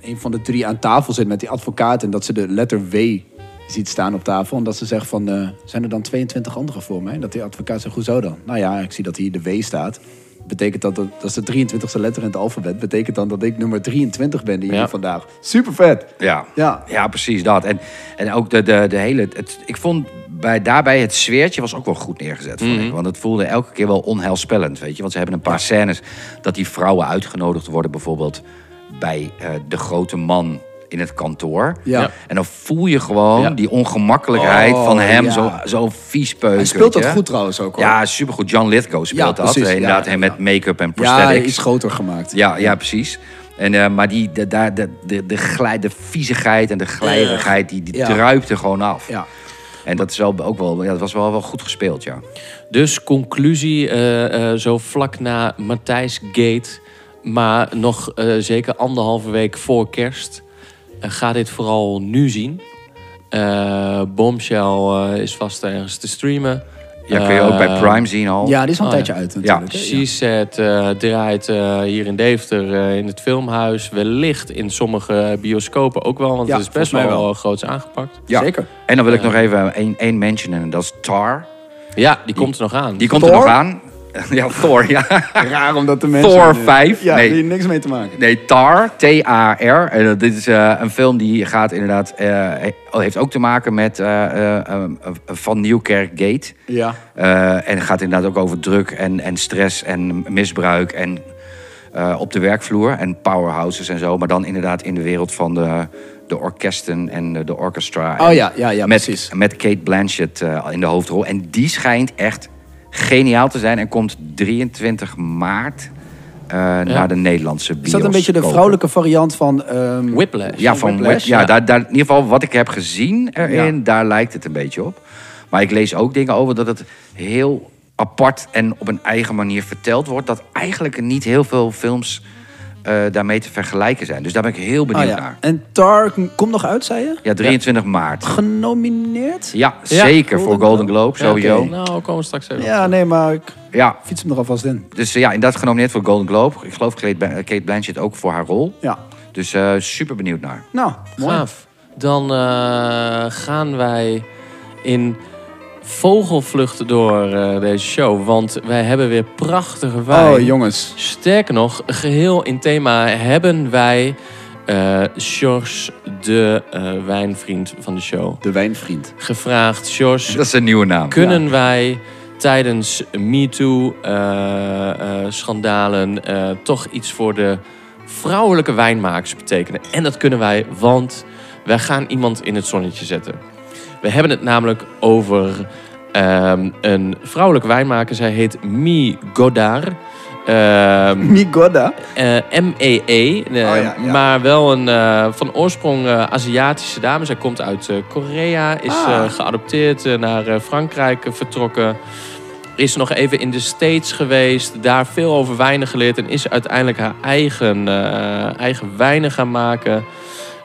[SPEAKER 4] een van de drie aan tafel zit met die advocaat. En dat ze de letter W ziet staan op tafel. En dat ze zegt van, eh, zijn er dan 22 anderen voor mij? Dat die advocaat zegt, hoezo dan? Nou ja, ik zie dat hier de W staat. Betekent dat, dat, dat is de 23e letter in het alfabet. Betekent dan dat ik nummer 23 ben hier
[SPEAKER 3] Ja.
[SPEAKER 4] vandaag. Super vet.
[SPEAKER 5] Ja,
[SPEAKER 4] Ja.
[SPEAKER 5] ja. precies dat. En, en ook de, de, de hele. Het, ik vond bij, daarbij het sfeertje was ook wel goed neergezet. Vond
[SPEAKER 4] Mhm.
[SPEAKER 5] ik. Want het voelde elke keer wel onheilspellend. Weet je? Want ze hebben een paar scènes dat die vrouwen uitgenodigd worden, bijvoorbeeld bij eh, de grote man in het kantoor.
[SPEAKER 4] Ja. Ja.
[SPEAKER 5] En dan voel je gewoon
[SPEAKER 3] Ja.
[SPEAKER 5] die ongemakkelijkheid
[SPEAKER 4] Oh,
[SPEAKER 5] van hem,
[SPEAKER 4] ja.
[SPEAKER 5] zo, zo vies peuken.
[SPEAKER 4] Hij speelt
[SPEAKER 5] weet
[SPEAKER 4] dat
[SPEAKER 5] je.
[SPEAKER 4] goed trouwens ook, hoor.
[SPEAKER 5] Ja, supergoed. John Lithgow speelt
[SPEAKER 4] Ja,
[SPEAKER 5] dat.
[SPEAKER 4] precies.
[SPEAKER 5] Inderdaad,
[SPEAKER 4] Ja,
[SPEAKER 5] en
[SPEAKER 4] ja.
[SPEAKER 5] met make-up en
[SPEAKER 4] Ja,
[SPEAKER 5] prosthetics.
[SPEAKER 4] iets groter gemaakt.
[SPEAKER 5] Ja, ja, precies. En, eh, maar die, de, daar- de, de, de, glij, de viezigheid en de glijderigheid, die, die
[SPEAKER 4] Ja.
[SPEAKER 5] druipt er gewoon af.
[SPEAKER 4] Ja.
[SPEAKER 5] En dat, is wel, ook wel, ja, dat was wel, wel goed gespeeld, ja.
[SPEAKER 3] dus conclusie, eh, eh, zo vlak na Matthijs Gate... maar nog eh, zeker anderhalve week voor kerst... eh, ga dit vooral nu zien. Eh Bombshell eh, is vast ergens te streamen.
[SPEAKER 5] Ja, kun je ook bij
[SPEAKER 3] Eh,
[SPEAKER 5] Prime zien al.
[SPEAKER 4] Ja, die is al een
[SPEAKER 3] Oh, ja.
[SPEAKER 4] tijdje uit natuurlijk. hè? Ja.
[SPEAKER 3] Precies, het eh, draait eh, hier in Deventer eh, in het filmhuis. Wellicht in sommige bioscopen ook wel, want
[SPEAKER 4] Ja,
[SPEAKER 3] het is best
[SPEAKER 4] volgens mij
[SPEAKER 3] wel, eh,
[SPEAKER 4] wel.
[SPEAKER 3] groots aangepakt.
[SPEAKER 5] Ja.
[SPEAKER 4] Zeker. Eh.
[SPEAKER 5] En dan wil ik nog even één, één mentionen, en dat is Tar.
[SPEAKER 3] Ja, die, komt er nog aan.
[SPEAKER 5] Die komt er
[SPEAKER 4] Thor?
[SPEAKER 5] nog aan. ja, Thor, ja.
[SPEAKER 4] Raar omdat de mensen...
[SPEAKER 5] Thor vijf?
[SPEAKER 4] Ja,
[SPEAKER 5] Nee.
[SPEAKER 4] die niks mee te maken.
[SPEAKER 5] Nee, Tar, T-A-R. En dat- dit is eh, een film die gaat inderdaad... eh, he- heeft ook te maken met eh, eh, eh, Van Nieuwkerk Gate.
[SPEAKER 4] Ja.
[SPEAKER 5] Eh, en het gaat inderdaad ook over druk en, en stress en misbruik en eh, op de werkvloer en powerhouses en zo. Maar dan inderdaad in de wereld van de, de orkesten en eh, de orchestra.
[SPEAKER 4] Oh
[SPEAKER 5] En
[SPEAKER 4] ja, ja, ja,
[SPEAKER 5] met,
[SPEAKER 4] precies.
[SPEAKER 5] Met Kate Blanchett eh, in de hoofdrol. En die schijnt echt geniaal te zijn en komt 23 maart eh, naar de Nederlandse bioscoop.
[SPEAKER 4] Is dat een beetje de vrouwelijke variant van... ehm,
[SPEAKER 3] Whiplash.
[SPEAKER 5] Ja, van
[SPEAKER 4] Whiplash,
[SPEAKER 5] Whip- ja,
[SPEAKER 4] ja.
[SPEAKER 5] Daar, daar, in ieder geval wat ik heb gezien erin, daar lijkt het een beetje op. Maar ik lees ook dingen over dat het heel apart en op een eigen manier verteld wordt. Dat eigenlijk niet heel veel films eh, daarmee te vergelijken zijn. Dus daar ben ik heel
[SPEAKER 4] ah,
[SPEAKER 5] benieuwd
[SPEAKER 4] ja.
[SPEAKER 5] naar.
[SPEAKER 4] En Tar komt nog uit, zei je?
[SPEAKER 5] Ja, 23 maart.
[SPEAKER 4] Genomineerd?
[SPEAKER 5] Ja,
[SPEAKER 3] Ja,
[SPEAKER 5] zeker voor Golden Globe,
[SPEAKER 3] Ja, oké.
[SPEAKER 5] sowieso.
[SPEAKER 3] Nou, komen we straks even.
[SPEAKER 4] Ja, nee, maar ik
[SPEAKER 5] Ja,
[SPEAKER 4] fiets hem er alvast in.
[SPEAKER 5] dus eh, ja, inderdaad genomineerd voor Golden Globe. Ik geloof Kate Bla- eh, Kate Blanchett ook voor haar rol.
[SPEAKER 4] Ja.
[SPEAKER 5] Dus eh, super benieuwd naar.
[SPEAKER 4] Nou, mooi.
[SPEAKER 3] Gaaf. Dan eh, gaan wij in vogelvlucht door eh, deze show. Want wij hebben weer prachtige wijn.
[SPEAKER 4] Oh, jongens.
[SPEAKER 3] Sterker nog, geheel in thema hebben wij eh George, de eh, wijnvriend van de show,
[SPEAKER 4] De wijnvriend.
[SPEAKER 3] gevraagd. George,
[SPEAKER 5] Dus Dat is een nieuwe naam.
[SPEAKER 3] kunnen wij tijdens eh, MeToo-schandalen eh, toch iets voor de vrouwelijke wijnmakers betekenen? En dat kunnen wij, want wij gaan iemand in het zonnetje zetten. We hebben het namelijk over ehm, een vrouwelijke wijnmaker. Zij heet Mie Godard. Ehm,
[SPEAKER 4] Migoda.
[SPEAKER 3] eh, MEE, eh,
[SPEAKER 4] Oh ja, ja.
[SPEAKER 3] maar wel een eh, van oorsprong eh, Aziatische dame. Zij komt uit eh, Korea, is
[SPEAKER 4] Ah.
[SPEAKER 3] eh, geadopteerd, eh, naar eh, Frankrijk eh, vertrokken. Is nog even in de States geweest, daar veel over wijnen geleerd en is uiteindelijk haar eigen, eh, eigen wijnen gaan maken.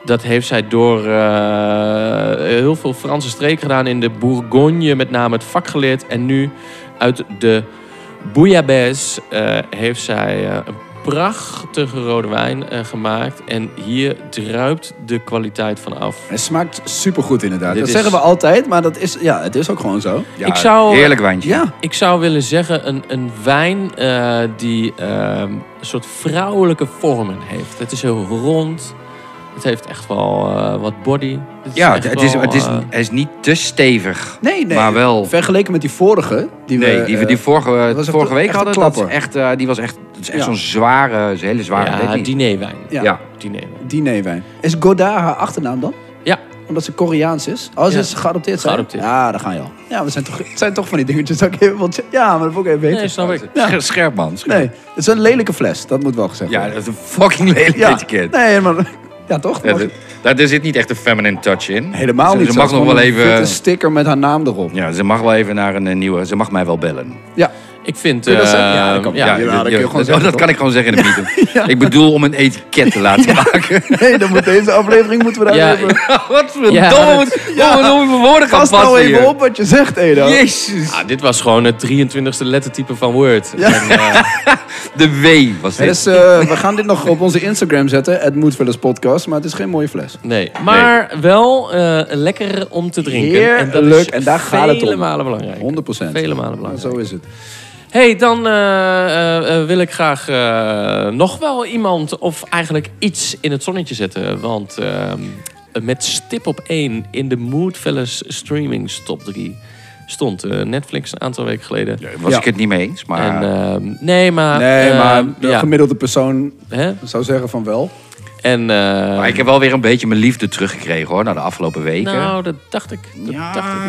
[SPEAKER 3] Dat heeft zij door eh, heel veel Franse streken gedaan. In de Bourgogne met name het vak geleerd. En nu uit de Bouillabaisse eh, heeft zij eh, een prachtige rode wijn eh, gemaakt. En hier druipt de kwaliteit van af.
[SPEAKER 4] Het smaakt supergoed inderdaad.
[SPEAKER 3] Dit
[SPEAKER 4] dat
[SPEAKER 3] is-
[SPEAKER 4] zeggen we altijd, maar dat is, ja, het is ook gewoon zo.
[SPEAKER 5] Ja,
[SPEAKER 3] Ik zou-
[SPEAKER 5] Heerlijk wijntje.
[SPEAKER 4] Ja.
[SPEAKER 3] Ik zou willen zeggen een, een wijn eh, die ehm, een soort vrouwelijke vormen heeft. Het is heel rond. Het heeft echt wel eh, wat body. Het
[SPEAKER 5] Ja,
[SPEAKER 3] echt
[SPEAKER 5] het is,
[SPEAKER 3] wel,
[SPEAKER 5] het, is,
[SPEAKER 3] eh,
[SPEAKER 5] hij is niet te stevig.
[SPEAKER 4] Nee, nee.
[SPEAKER 5] Maar wel.
[SPEAKER 4] Vergeleken met die vorige. Die
[SPEAKER 5] Nee,
[SPEAKER 4] we,
[SPEAKER 5] die we
[SPEAKER 4] eh,
[SPEAKER 5] die vorige,
[SPEAKER 4] was een
[SPEAKER 5] vorige
[SPEAKER 4] kla-
[SPEAKER 5] week
[SPEAKER 4] echt een
[SPEAKER 5] hadden, dat is
[SPEAKER 4] klapper.
[SPEAKER 5] echt, eh, die was echt, dat is echt
[SPEAKER 4] Ja.
[SPEAKER 5] zo'n zware, zo'n hele zware.
[SPEAKER 3] ja,
[SPEAKER 5] techniek.
[SPEAKER 3] dinerwijn.
[SPEAKER 4] Ja.
[SPEAKER 5] ja.
[SPEAKER 3] Dinerwijn.
[SPEAKER 4] dinerwijn. Is Goda haar achternaam dan?
[SPEAKER 3] Ja,
[SPEAKER 4] Omdat ze Koreaans is? Oh, ze
[SPEAKER 3] Ja.
[SPEAKER 4] is geadopteerd. zei je?
[SPEAKER 3] Geadopteerd.
[SPEAKER 4] Ja, daar gaan je al. Ja, we zijn toch, het zijn toch van die dingetjes dat ik even wil checken. Ja, maar dat wil ik even weten.
[SPEAKER 3] nee, snap ik.
[SPEAKER 5] Scher- Scherp man. scherp.
[SPEAKER 4] Nee, het is een lelijke fles. Dat moet wel gezegd
[SPEAKER 5] Ja,
[SPEAKER 4] worden.
[SPEAKER 5] dat is een fucking lelijk etiket.
[SPEAKER 4] Nee, maar... Ja, toch?
[SPEAKER 5] Ja, dat- daar, daar zit niet echt een feminine touch in.
[SPEAKER 4] Helemaal
[SPEAKER 5] ze,
[SPEAKER 4] niet.
[SPEAKER 5] Ze mag nog wel
[SPEAKER 4] Een
[SPEAKER 5] even,
[SPEAKER 4] sticker met haar naam erop.
[SPEAKER 5] ja, ze mag wel even naar een eh, nieuwe, ze mag mij wel bellen.
[SPEAKER 4] Ja.
[SPEAKER 3] Ik vind...
[SPEAKER 4] Kun je dat
[SPEAKER 3] eh,
[SPEAKER 4] zeggen? Ja, dat kan. Ja, dat kun je gewoon
[SPEAKER 5] dat-
[SPEAKER 4] zeggen,
[SPEAKER 5] oh, dat
[SPEAKER 4] toch?
[SPEAKER 5] kan ik gewoon zeggen in de meeting. Ik bedoel om een etiket te laten maken.
[SPEAKER 4] Nee, dan moet deze aflevering moeten we daar
[SPEAKER 3] Ja,
[SPEAKER 4] even...
[SPEAKER 5] Wat
[SPEAKER 3] Ja,
[SPEAKER 5] verdomme,
[SPEAKER 3] dat-
[SPEAKER 5] wat verdomme voor woorden gaan
[SPEAKER 4] Pas
[SPEAKER 5] passen
[SPEAKER 4] nou even
[SPEAKER 5] hier.
[SPEAKER 4] op wat je zegt, Edo.
[SPEAKER 5] Jezus.
[SPEAKER 3] Ah, dit was gewoon het 23e lettertype van Word. En, eh,
[SPEAKER 5] De W was dit.
[SPEAKER 4] Dus eh, we gaan dit nog op onze Instagram zetten. Het moet wel eens podcast, maar het is geen mooie fles.
[SPEAKER 3] nee, maar wel eh, lekker om te drinken. en, dat
[SPEAKER 4] Heerlijk,
[SPEAKER 3] is
[SPEAKER 4] en daar gaat het om.
[SPEAKER 3] Vele malen belangrijk.
[SPEAKER 4] 100 procent.
[SPEAKER 3] Vele malen belangrijk.
[SPEAKER 4] Zo is het.
[SPEAKER 3] hey, dan eh, eh, eh, wil ik graag eh, nog wel iemand of eigenlijk iets in het zonnetje zetten. Want ehm, met stip op 1 in de Moodfellas streamings top 3 stond eh, Netflix een aantal weken geleden.
[SPEAKER 5] Was
[SPEAKER 4] Ja.
[SPEAKER 5] ik het niet mee eens, maar...
[SPEAKER 3] En, ehm, nee, maar...
[SPEAKER 4] Nee,
[SPEAKER 3] eh,
[SPEAKER 4] maar de
[SPEAKER 3] ja,
[SPEAKER 4] gemiddelde persoon
[SPEAKER 3] hè?
[SPEAKER 4] zou zeggen van wel.
[SPEAKER 3] En, eh,
[SPEAKER 5] Maar ik heb wel weer een beetje mijn liefde teruggekregen hoor, na de afgelopen weken. Ah,
[SPEAKER 3] nou, dat dacht ik. Dat dacht ik.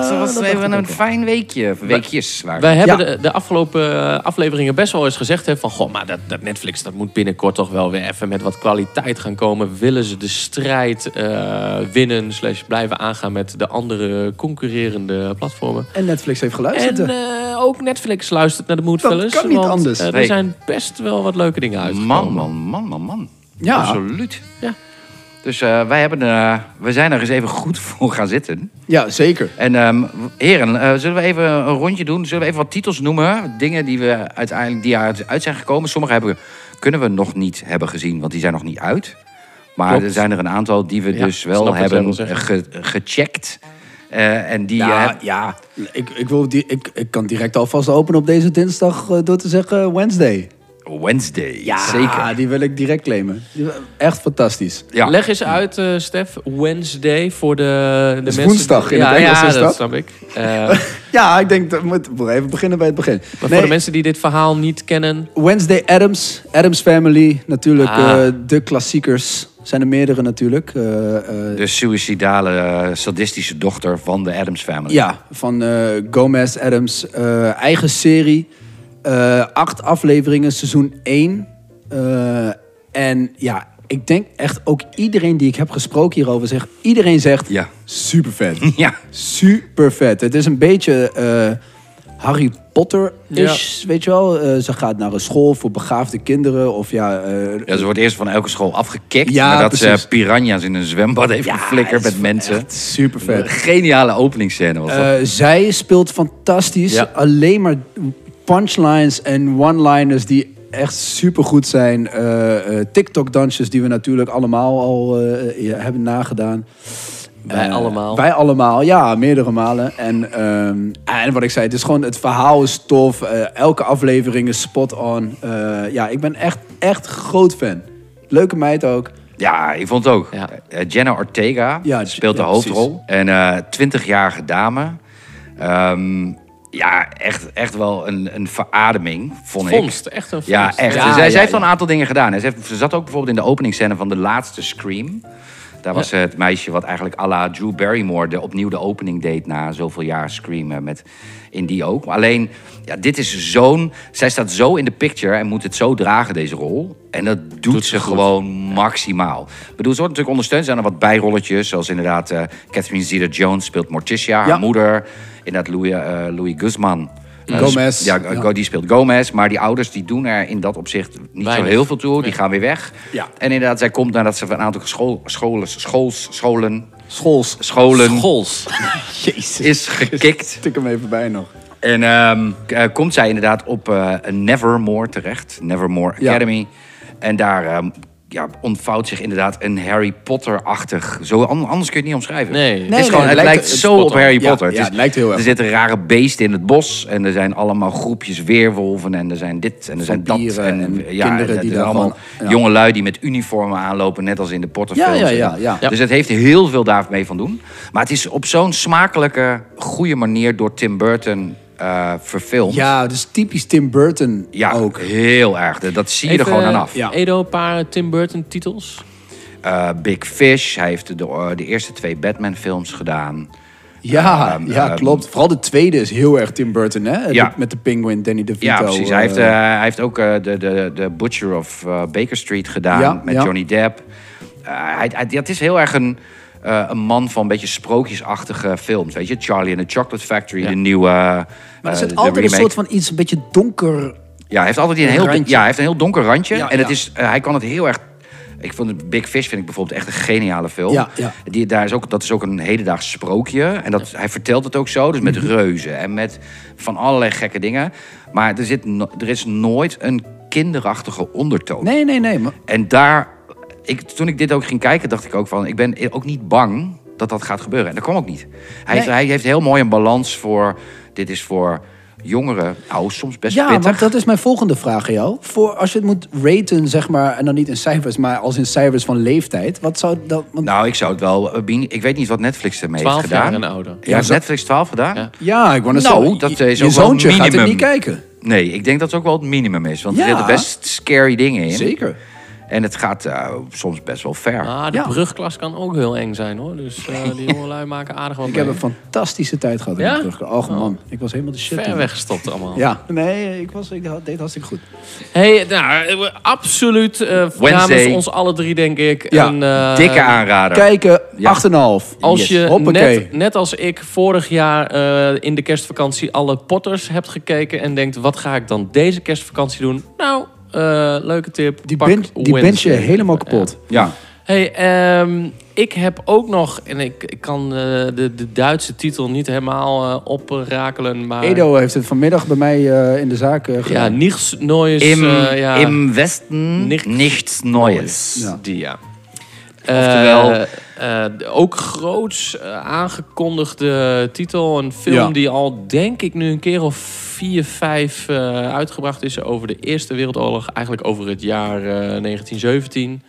[SPEAKER 5] dat was even een fijn weekje. Weekjes waren.
[SPEAKER 3] Wij hebben
[SPEAKER 4] Ja.
[SPEAKER 3] de, de afgelopen eh, afleveringen best wel eens gezegd... Hè, van, goh, maar dat, dat Netflix dat moet binnenkort toch wel weer even met wat kwaliteit gaan komen. Willen ze de strijd eh, winnen slash blijven aangaan met de andere concurrerende platformen?
[SPEAKER 4] En Netflix heeft
[SPEAKER 3] En
[SPEAKER 4] geluisterd.
[SPEAKER 3] eh, ook Netflix luistert naar de Moodfellas.
[SPEAKER 4] Dat kan niet
[SPEAKER 3] want,
[SPEAKER 4] anders. Mm.
[SPEAKER 3] eh, er
[SPEAKER 5] Nee.
[SPEAKER 3] zijn best wel wat leuke dingen uitgekomen.
[SPEAKER 5] Man, man, man, man, man.
[SPEAKER 4] Ja.
[SPEAKER 5] Absoluut.
[SPEAKER 3] Ja.
[SPEAKER 5] Dus eh, wij hebben, eh, we zijn er eens even goed voor gaan zitten.
[SPEAKER 3] eh,
[SPEAKER 4] Ja, zeker.
[SPEAKER 5] En ehm, heren, eh, zullen we even een rondje doen? Zullen we even wat titels noemen? Dingen die, we uiteindelijk, die uit uit zijn gekomen. Sommige hebben, kunnen we nog niet hebben gezien, want die zijn nog niet uit. Maar
[SPEAKER 3] Klopt.
[SPEAKER 5] er zijn er een aantal die we
[SPEAKER 3] Ja,
[SPEAKER 5] dus
[SPEAKER 3] snap
[SPEAKER 5] wel
[SPEAKER 3] wat jij wil
[SPEAKER 5] hebben
[SPEAKER 3] zeggen.
[SPEAKER 5] ge- gecheckt. Eh, en die eh,
[SPEAKER 4] Ja,
[SPEAKER 5] heb-
[SPEAKER 4] ja. Ik, ik, wil die, ik, ik kan direct alvast openen op deze dinsdag eh, door te zeggen Wednesday.
[SPEAKER 5] Wednesday.
[SPEAKER 4] Ah,
[SPEAKER 5] Zeker.
[SPEAKER 4] die wil ik direct claimen. Die- Echt fantastisch.
[SPEAKER 5] Ja.
[SPEAKER 3] Leg eens uit, eh, Stef, Wednesday voor de, de
[SPEAKER 4] is
[SPEAKER 3] mensen...
[SPEAKER 4] woensdag, in
[SPEAKER 3] ja,
[SPEAKER 4] het Engels
[SPEAKER 3] ja,
[SPEAKER 4] is dat.
[SPEAKER 3] snap ik. Eh, maar
[SPEAKER 4] Ja, ik denk, dat moet we even beginnen bij het begin.
[SPEAKER 3] voor
[SPEAKER 4] Nee,
[SPEAKER 3] de mensen die dit verhaal niet kennen...
[SPEAKER 4] Wednesday Adams, Adams Family, natuurlijk
[SPEAKER 3] Ah.
[SPEAKER 4] eh, de klassiekers. Zijn er meerdere natuurlijk. Eh, eh,
[SPEAKER 5] De suïcidale, eh, sadistische dochter van de Adams Family.
[SPEAKER 4] Ja, van eh, Gomez Adams. eh, eigen serie. Eh, acht afleveringen, seizoen 1. en ja, ik denk echt ook iedereen die ik heb gesproken hierover zegt... Iedereen zegt,
[SPEAKER 5] Ja.
[SPEAKER 4] super vet.
[SPEAKER 5] Ja.
[SPEAKER 4] Super vet. Het is een beetje eh, Harry Potter-ish, weet je wel. Eh, ze gaat naar een school voor begaafde kinderen. Of ja, eh,
[SPEAKER 5] Ja, ze wordt eerst van elke school afgekikt.
[SPEAKER 4] Ja,
[SPEAKER 5] nadat
[SPEAKER 4] precies.
[SPEAKER 5] ze piranha's in een zwembad heeft
[SPEAKER 4] Ja,
[SPEAKER 5] geflikkerd
[SPEAKER 4] het is
[SPEAKER 5] met mensen.
[SPEAKER 4] echt super vet.
[SPEAKER 5] Een geniale openingsscène was dat.
[SPEAKER 4] Eh, zij speelt fantastisch.
[SPEAKER 5] Ja.
[SPEAKER 4] Alleen maar punchlines en one-liners die echt supergoed zijn. Eh, eh, TikTok-dansjes die we natuurlijk allemaal al eh, eh, hebben nagedaan.
[SPEAKER 3] Wij
[SPEAKER 4] Eh,
[SPEAKER 3] allemaal.
[SPEAKER 4] Wij allemaal, ja, meerdere malen. En, ehm, en wat ik zei, het is gewoon, het verhaal is tof. Eh, elke aflevering is spot on. Eh, ja, ik ben echt, echt groot fan. Leuke meid ook.
[SPEAKER 5] Ja, ik vond het ook.
[SPEAKER 3] Ja.
[SPEAKER 5] Eh, Jenna Ortega
[SPEAKER 4] Ja,
[SPEAKER 5] speelt de
[SPEAKER 4] ja,
[SPEAKER 5] hoofdrol. Een twintigjarige dame. Ehm, ja, echt, echt wel een, een verademing, vond
[SPEAKER 3] Vondst,
[SPEAKER 5] ik.
[SPEAKER 3] echt een vondst.
[SPEAKER 5] Ja, echt.
[SPEAKER 3] Ja,
[SPEAKER 5] zij,
[SPEAKER 3] ja,
[SPEAKER 5] zij heeft
[SPEAKER 3] ja.
[SPEAKER 5] al een aantal dingen gedaan. hè. Ze, heeft- ze zat ook bijvoorbeeld in de openingsscène van de laatste Scream. Daar was eh, het meisje wat eigenlijk à la Drew Barrymore de, opnieuw de opening deed na zoveel jaar Scream. eh, Met, in die ook. Maar Alleen, ja, dit is zo'n... Zij staat zo in de picture en moet het zo dragen, deze rol. En dat doet, ze gewoon maximaal. Ik bedoel, ze wordt natuurlijk ondersteund. Er zijn er wat bijrolletjes. Zoals inderdaad eh, Catherine Zeta-Jones speelt Morticia, haar
[SPEAKER 4] Ja.
[SPEAKER 5] moeder. Inderdaad Louis, eh, Louis Guzman. eh,
[SPEAKER 4] Gomez.
[SPEAKER 5] sp- Ja,
[SPEAKER 4] Ja.
[SPEAKER 5] Go- die speelt Gomez. Maar die ouders die doen er in dat opzicht niet
[SPEAKER 3] Weinig.
[SPEAKER 5] zo heel veel toe. Die gaan weer weg.
[SPEAKER 4] Ja.
[SPEAKER 5] En inderdaad, zij komt nadat ze van een aantal school, scholen, schools, scholen,
[SPEAKER 4] Schools.
[SPEAKER 5] scholen
[SPEAKER 3] Goals.
[SPEAKER 4] Jezus.
[SPEAKER 5] is gekikt.
[SPEAKER 4] Tik hem even bij nog.
[SPEAKER 5] En ehm, k- eh, komt zij inderdaad op eh, een Nevermore terecht. Nevermore
[SPEAKER 4] Ja.
[SPEAKER 5] Academy. En daar ehm, ja, ontvouwt zich inderdaad een Harry Potter-achtig... Zo, an- anders kun je het niet omschrijven.
[SPEAKER 3] Nee.
[SPEAKER 5] het,
[SPEAKER 4] Nee,
[SPEAKER 5] is gewoon,
[SPEAKER 4] nee,
[SPEAKER 5] het
[SPEAKER 4] het
[SPEAKER 5] lijkt,
[SPEAKER 4] lijkt- het
[SPEAKER 5] zo
[SPEAKER 3] spot
[SPEAKER 5] op
[SPEAKER 3] on.
[SPEAKER 5] Harry
[SPEAKER 4] Ja,
[SPEAKER 5] Potter.
[SPEAKER 4] ja,
[SPEAKER 5] is-
[SPEAKER 4] het lijkt heel erg.
[SPEAKER 5] Er zitten rare beesten in het bos. En er zijn allemaal groepjes weerwolven. En er zijn dit en er zijn dat.
[SPEAKER 4] Vampieren en kinderen
[SPEAKER 5] het
[SPEAKER 4] die
[SPEAKER 5] is
[SPEAKER 4] daar
[SPEAKER 5] allemaal
[SPEAKER 4] gewoon- ja.
[SPEAKER 5] jonge lui die met uniformen aanlopen. Net als in de Potterfilms.
[SPEAKER 4] Ja, ja, ja,
[SPEAKER 5] En-
[SPEAKER 4] ja.
[SPEAKER 5] Dus het heeft heel veel daarmee van doen. Maar het is op zo'n smakelijke, goede manier door Tim Burton eh, verfilmd.
[SPEAKER 4] Ja, dus typisch Tim Burton
[SPEAKER 5] Ja,
[SPEAKER 4] ook. eh,
[SPEAKER 5] heel erg. Dat- Dat zie je er
[SPEAKER 3] Even,
[SPEAKER 5] gewoon aan af.
[SPEAKER 4] Ja.
[SPEAKER 3] Edo, een paar Tim Burton titels.
[SPEAKER 5] Eh, Big Fish, hij heeft de, eh, de eerste twee Batman-films gedaan.
[SPEAKER 4] Ja,
[SPEAKER 5] Ehm,
[SPEAKER 4] ja
[SPEAKER 5] ehm,
[SPEAKER 4] klopt. Vooral de tweede is heel erg Tim Burton, hè?
[SPEAKER 5] Ja.
[SPEAKER 4] Met de Penguin, Danny DeVito.
[SPEAKER 5] ja, precies.
[SPEAKER 4] eh,
[SPEAKER 5] hij, heeft, eh, hij heeft ook eh, de, de, de Butcher of eh, Baker Street gedaan
[SPEAKER 4] Ja,
[SPEAKER 5] met
[SPEAKER 4] ja.
[SPEAKER 5] Johnny Depp. Eh, hij, hij, het is heel erg een, eh, een man van een beetje sprookjesachtige films. Weet je, Charlie and the Chocolate Factory, de nieuwe.
[SPEAKER 4] maar er
[SPEAKER 5] eh,
[SPEAKER 4] zit
[SPEAKER 5] de
[SPEAKER 4] altijd een
[SPEAKER 5] remake.
[SPEAKER 4] soort van iets een beetje donker.
[SPEAKER 5] Ja, hij heeft altijd een, heel,
[SPEAKER 4] randje.
[SPEAKER 5] ja, hij heeft een heel donker randje.
[SPEAKER 4] Ja,
[SPEAKER 5] en het
[SPEAKER 4] ja.
[SPEAKER 5] is, eh, hij kan het heel erg. Ik vond Big Fish vind ik bijvoorbeeld echt een geniale film.
[SPEAKER 4] Ja, ja.
[SPEAKER 5] Die, daar is ook, dat is ook een hedendaags sprookje. En dat, hij vertelt het ook zo. Dus
[SPEAKER 4] Mhm.
[SPEAKER 5] met reuzen en met van allerlei gekke dingen. Maar er, zit no- er is nooit een kinderachtige ondertoon.
[SPEAKER 4] Nee, nee, nee. Maar,
[SPEAKER 5] En daar, ik, toen ik dit ook ging kijken, dacht ik ook van... ik ben ook niet bang dat dat gaat gebeuren. En dat kwam ook niet. Hij, heeft, hij heeft heel mooi een balans voor... dit is voor jongeren, oud, soms best
[SPEAKER 4] ja,
[SPEAKER 5] pittig.
[SPEAKER 4] want dat is mijn volgende vraag aan jou. Voor, als je het moet raten, zeg maar, en dan niet in cijfers, maar als in cijfers van leeftijd. Wat zou dat... Want,
[SPEAKER 5] Nou, ik zou het wel. eh, bien- Ik weet niet wat Netflix ermee heeft
[SPEAKER 3] 12 jaar
[SPEAKER 5] gedaan.
[SPEAKER 3] en ouder.
[SPEAKER 5] Ja, heeft Netflix 12 gedaan?
[SPEAKER 3] Ja.
[SPEAKER 4] ja, ik wou net
[SPEAKER 5] nou,
[SPEAKER 4] zeggen,
[SPEAKER 5] dat
[SPEAKER 4] je-
[SPEAKER 5] is
[SPEAKER 4] je
[SPEAKER 5] ook wel
[SPEAKER 4] zoontje gaat het
[SPEAKER 5] minimum.
[SPEAKER 4] niet kijken.
[SPEAKER 5] Nee, ik denk dat het ook wel het minimum is. Want er
[SPEAKER 4] Ja.
[SPEAKER 5] zitten best scary dingen in.
[SPEAKER 4] Zeker.
[SPEAKER 5] En het gaat eh, soms best wel ver.
[SPEAKER 3] Ah, de
[SPEAKER 4] Ja.
[SPEAKER 3] brugklas kan ook heel eng zijn, hoor. Dus eh die jongelui maken aardig wat
[SPEAKER 4] Ik heb
[SPEAKER 3] mee.
[SPEAKER 4] een fantastische tijd gehad in
[SPEAKER 3] Ja?
[SPEAKER 4] de terugkeer. Och man, ik was helemaal de shit.
[SPEAKER 3] Ver
[SPEAKER 4] toen.
[SPEAKER 3] weggestopt allemaal.
[SPEAKER 4] Ja. Oh. Nee, ik, was, ik deed hartstikke goed.
[SPEAKER 3] Hey, nou, eh, absoluut eh, namens ons alle drie, denk ik.
[SPEAKER 4] Ja,
[SPEAKER 3] een, eh,
[SPEAKER 5] Dikke aanrader.
[SPEAKER 4] Kijken,
[SPEAKER 5] Ja.
[SPEAKER 4] 8,5.
[SPEAKER 3] Als
[SPEAKER 4] Yes.
[SPEAKER 3] je
[SPEAKER 4] Hoppakee.
[SPEAKER 3] net, net als ik vorig jaar eh, in de kerstvakantie alle Potters hebt gekeken... en denkt, wat ga ik dan deze kerstvakantie doen? Nou, eh, leuke tip.
[SPEAKER 4] Die,
[SPEAKER 3] Pak
[SPEAKER 4] ben, die
[SPEAKER 3] Wednesday.
[SPEAKER 4] bent je helemaal kapot.
[SPEAKER 5] Ja.
[SPEAKER 3] Hey, ehm, ik heb ook nog, en ik, ik kan eh, de, de Duitse titel niet helemaal eh, oprakelen, maar...
[SPEAKER 5] Ah,
[SPEAKER 4] Edo heeft het vanmiddag bij mij eh, in de zaak eh,
[SPEAKER 3] Ja,
[SPEAKER 4] gedaan.
[SPEAKER 3] niets noois.
[SPEAKER 5] Im,
[SPEAKER 3] Dus, eh, ja,
[SPEAKER 5] im Westen
[SPEAKER 3] Niks
[SPEAKER 5] nichts Neues.
[SPEAKER 4] Ja.
[SPEAKER 3] die, ja.
[SPEAKER 5] Oftewel-
[SPEAKER 3] Eh, eh, ook groots eh, aangekondigde titel. Een film
[SPEAKER 4] Ja.
[SPEAKER 3] die al, denk ik, nu een keer of vier, vijf eh, uitgebracht is over de Eerste Wereldoorlog. Eigenlijk over het jaar eh, 1917.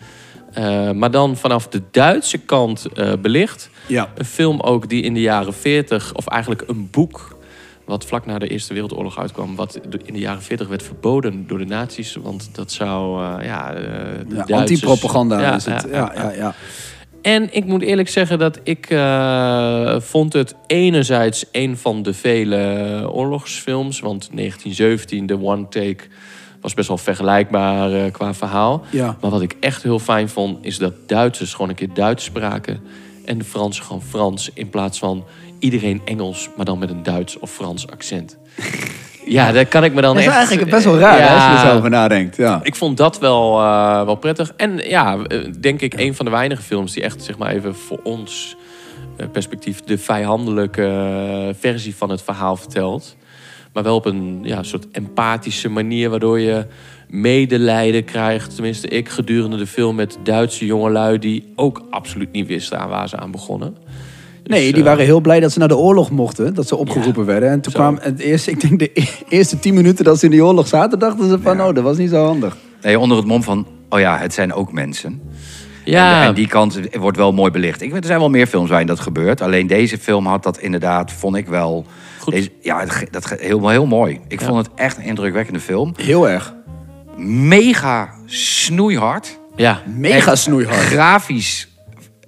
[SPEAKER 3] Eh, maar dan vanaf de Duitse kant eh, belicht.
[SPEAKER 4] Ja.
[SPEAKER 3] Een film ook die in de jaren 40, of eigenlijk een boek. Wat vlak na de Eerste Wereldoorlog uitkwam, wat in de jaren 40 werd verboden door de nazi's. Want dat zou. eh, ja, eh, de
[SPEAKER 4] Ja,
[SPEAKER 3] Duitsers-
[SPEAKER 4] antipropaganda
[SPEAKER 3] Ja,
[SPEAKER 4] is het.
[SPEAKER 3] ja,
[SPEAKER 4] Ja,
[SPEAKER 3] ja,
[SPEAKER 4] ja, ja.
[SPEAKER 3] en ik moet eerlijk zeggen dat ik eh, vond het enerzijds een van de vele eh, oorlogsfilms. Want 1917, de One Take, was best wel vergelijkbaar eh, qua verhaal.
[SPEAKER 4] Ja.
[SPEAKER 3] Maar wat ik echt heel fijn vond, is dat Duitsers gewoon een keer Duits spraken. En de Fransen gewoon Frans. In plaats van iedereen Engels, maar dan met een Duits of Frans accent. ja, daar kan ik me dan
[SPEAKER 4] Dat is
[SPEAKER 3] echt...
[SPEAKER 4] eigenlijk best wel raar hè, als je er
[SPEAKER 3] Ja.
[SPEAKER 4] zo over nadenkt. Ja.
[SPEAKER 3] Ik vond dat wel, eh, wel prettig. En ja, eh, denk ik een van de weinige films die echt, zeg maar even voor ons eh, perspectief, de vijandelijke eh, versie van het verhaal vertelt. Maar wel op een ja, soort empathische manier, waardoor je medelijden krijgt. Tenminste, ik gedurende de film met Duitse jongelui die ook absoluut niet wisten aan waar ze aan begonnen. Dus,
[SPEAKER 4] Nee, die
[SPEAKER 3] eh,
[SPEAKER 4] waren heel blij dat ze naar de oorlog mochten. Dat ze opgeroepen werden. En toen
[SPEAKER 3] zo.
[SPEAKER 4] kwam het eerste, ik denk de e- eerste tien minuten dat ze in die oorlog zaten, dachten ze van, oh, dat was niet zo handig.
[SPEAKER 5] Nee, onder het mom van, oh ja, het zijn ook mensen.
[SPEAKER 3] ja,
[SPEAKER 5] En, en die kant wordt wel mooi belicht. Ik, weet, er zijn wel meer films waarin dat gebeurt. Alleen deze film had dat inderdaad, vond ik wel...
[SPEAKER 3] Goed.
[SPEAKER 5] Deze- ja, het ge- dat ge- heel, heel mooi. Ik vond het echt een indrukwekkende film.
[SPEAKER 4] Heel erg.
[SPEAKER 5] Mega snoeihard.
[SPEAKER 3] ja.
[SPEAKER 4] Mega
[SPEAKER 5] Echt
[SPEAKER 4] snoeihard.
[SPEAKER 5] Grafisch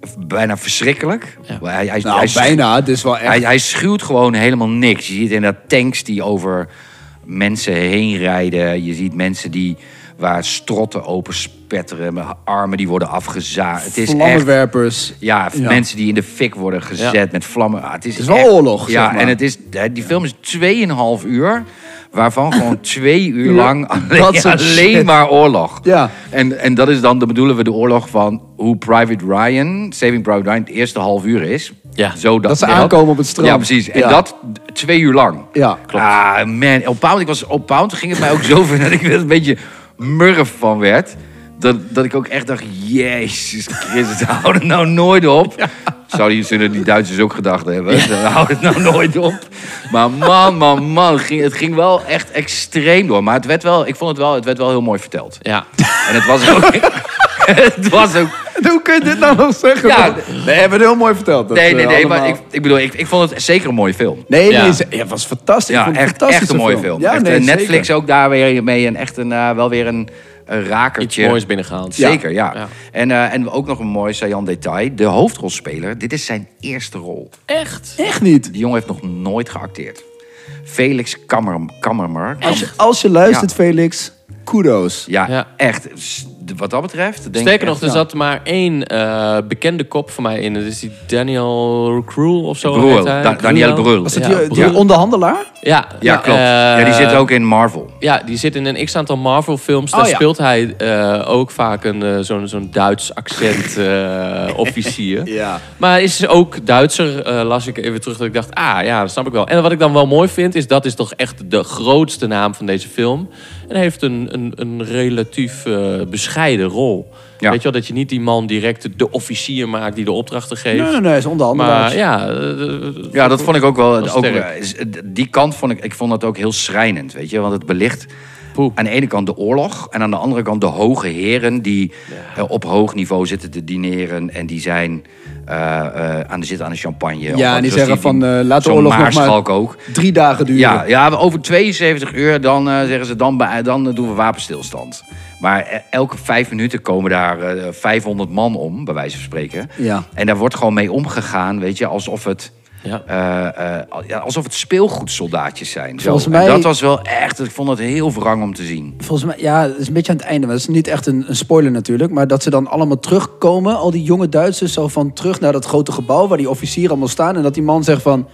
[SPEAKER 5] f- bijna verschrikkelijk.
[SPEAKER 3] Ja.
[SPEAKER 5] Maar Hij, hij, hij,
[SPEAKER 4] Nou, bijna. Het is wel echt...
[SPEAKER 5] hij, hij schuwt gewoon helemaal niks. Je ziet inderdaad tanks die over mensen heen rijden. Je ziet mensen die waar strotten open spetteren. met Armen die worden afgezaagd. Het is echt...
[SPEAKER 4] Vlammenwerpers.
[SPEAKER 5] Ja,
[SPEAKER 4] Ja.
[SPEAKER 5] mensen die in de fik worden gezet
[SPEAKER 3] Ja.
[SPEAKER 5] met vlammen. Ah, het, is
[SPEAKER 4] is wel
[SPEAKER 5] echt-
[SPEAKER 4] oorlog,
[SPEAKER 5] Ja,
[SPEAKER 4] zeg maar.
[SPEAKER 5] en het is, hè, die film is 2,5 uur. Waarvan gewoon twee uur
[SPEAKER 4] Ja,
[SPEAKER 5] lang
[SPEAKER 4] dat
[SPEAKER 5] alleen,
[SPEAKER 4] soort shit.
[SPEAKER 5] alleen maar oorlog.
[SPEAKER 4] Ja.
[SPEAKER 5] En, en dat is dan, dan bedoelen we de oorlog van hoe Private Ryan, Saving Private Ryan, het eerste half uur is.
[SPEAKER 3] Ja.
[SPEAKER 5] Zo dat,
[SPEAKER 4] Dat ze aankomen op het strand.
[SPEAKER 5] Ja, precies. En
[SPEAKER 4] Ja.
[SPEAKER 5] dat twee uur lang.
[SPEAKER 4] Ja.
[SPEAKER 5] klopt. Ah, man. Op Pound, ik was op Pound, ging het mij ook zo ver dat ik er een beetje murf van werd. Dat, dat ik ook echt dacht, jezus Christus, hou het nou nooit op. Zouden die, zullen die Duitsers ook gedacht hebben. Hou het nou nooit op. Maar man, man, man, ging, het ging wel echt extreem door. Maar het werd wel, ik vond het wel, het werd wel heel mooi verteld.
[SPEAKER 3] ja.
[SPEAKER 5] En het was ook... het was ook
[SPEAKER 4] Hoe kun je dit nou nog zeggen?
[SPEAKER 5] Ja.
[SPEAKER 4] We hebben het heel mooi verteld. dat,
[SPEAKER 5] nee, nee,
[SPEAKER 4] eh,
[SPEAKER 5] nee, maar
[SPEAKER 4] allemaal.
[SPEAKER 5] ik, ik bedoel, ik, ik vond het zeker een mooie film.
[SPEAKER 4] Nee, nee,
[SPEAKER 3] Ja.
[SPEAKER 4] ze- ja, het was fantastisch. Ik
[SPEAKER 5] Ja,
[SPEAKER 4] vond het
[SPEAKER 5] echt, echt
[SPEAKER 4] fantastische
[SPEAKER 5] een mooie film.
[SPEAKER 4] Ja,
[SPEAKER 5] Echt,
[SPEAKER 4] nee,
[SPEAKER 5] eh, Netflix
[SPEAKER 4] zeker.
[SPEAKER 5] ook daar weer mee en echt een, eh, wel weer een, een
[SPEAKER 3] Iets
[SPEAKER 5] rakertje.
[SPEAKER 3] moois binnengehaald.
[SPEAKER 5] Zeker, ja.
[SPEAKER 3] Ja.
[SPEAKER 5] En, eh, en ook nog een mooi saillant detail. De hoofdrolspeler, dit is zijn eerste rol.
[SPEAKER 3] Echt?
[SPEAKER 4] Echt niet.
[SPEAKER 5] Die jongen heeft nog nooit geacteerd. Felix Kammer, Kammermer.
[SPEAKER 4] Als je, als je luistert, Felix, kudos.
[SPEAKER 5] Ja,
[SPEAKER 3] Ja.
[SPEAKER 5] echt. S- Wat dat betreft... Denk ik
[SPEAKER 3] Sterker nog,
[SPEAKER 5] echt-
[SPEAKER 3] er zat maar één eh, bekende kop voor mij in. Dat is die Daniel Cruel of zo.
[SPEAKER 5] Bruhl.
[SPEAKER 3] heet hij.
[SPEAKER 5] Da- Daniel Bruhl.
[SPEAKER 4] Was dat
[SPEAKER 3] ja,
[SPEAKER 4] die, die
[SPEAKER 3] Bruhl.
[SPEAKER 4] onderhandelaar?
[SPEAKER 3] Ja,
[SPEAKER 5] Ja, klopt. ja, die
[SPEAKER 3] eh,
[SPEAKER 5] zit ook in Marvel.
[SPEAKER 3] Ja, die zit in een x-aantal Marvel-films. Daar
[SPEAKER 4] Oh, ja.
[SPEAKER 3] speelt hij eh, ook vaak een, eh, zo'n, zo'n Duits accent-officier.
[SPEAKER 4] Ja.
[SPEAKER 3] Maar is ook Duitser, eh, las ik even terug dat ik dacht, ah ja, dat snap ik wel. En wat ik dan wel mooi vind, is dat is toch echt de grootste naam van deze film. En hij heeft een, een, een relatief eh, bescheiden rol.
[SPEAKER 5] Ja.
[SPEAKER 3] Weet je wel, dat je niet die man direct de officier maakt die de opdrachten geeft.
[SPEAKER 4] Nee, nee, nee, is onderhandelaar.
[SPEAKER 3] Maar ja, eh,
[SPEAKER 5] Ja, dat vond ik ook wel.
[SPEAKER 3] was
[SPEAKER 5] ook,
[SPEAKER 3] sterk.
[SPEAKER 5] eh, is- eh, die kant vond ik, ik vond dat ook heel schrijnend, weet je. Want het belicht
[SPEAKER 3] Poeh.
[SPEAKER 5] aan de ene kant de oorlog... en aan de andere kant de hoge heren die eh, op hoog niveau zitten te dineren... en die zijn eh, eh, aan de zitten aan de champagne. Of
[SPEAKER 4] Ja, en die
[SPEAKER 5] zoals
[SPEAKER 4] zeggen van, eh, laat de
[SPEAKER 5] zo'n
[SPEAKER 4] oorlog nog maar-
[SPEAKER 5] maarschalk ook.
[SPEAKER 4] Drie dagen duren.
[SPEAKER 5] Ja, ja, over 72 uur dan eh, zeggen ze dan, bij- dan eh, doen we wapenstilstand. Maar eh, elke vijf minuten komen daar eh, 500 man om, bij wijze van spreken.
[SPEAKER 4] Ja.
[SPEAKER 5] En daar wordt gewoon mee omgegaan, weet je, alsof het.
[SPEAKER 3] Ja.
[SPEAKER 5] eh, eh, al- ja, alsof het speelgoedsoldaatjes zijn. Zo.
[SPEAKER 4] Volgens
[SPEAKER 5] En
[SPEAKER 4] mij-
[SPEAKER 5] dat was wel echt, ik vond het heel wrang om te zien.
[SPEAKER 4] Volgens mij, ja, het is een beetje aan het einde. Maar het is niet echt een, een spoiler natuurlijk. Maar dat ze dan allemaal terugkomen, al die jonge Duitsers, zo van terug naar dat grote gebouw waar die officieren allemaal staan. En dat die man zegt van,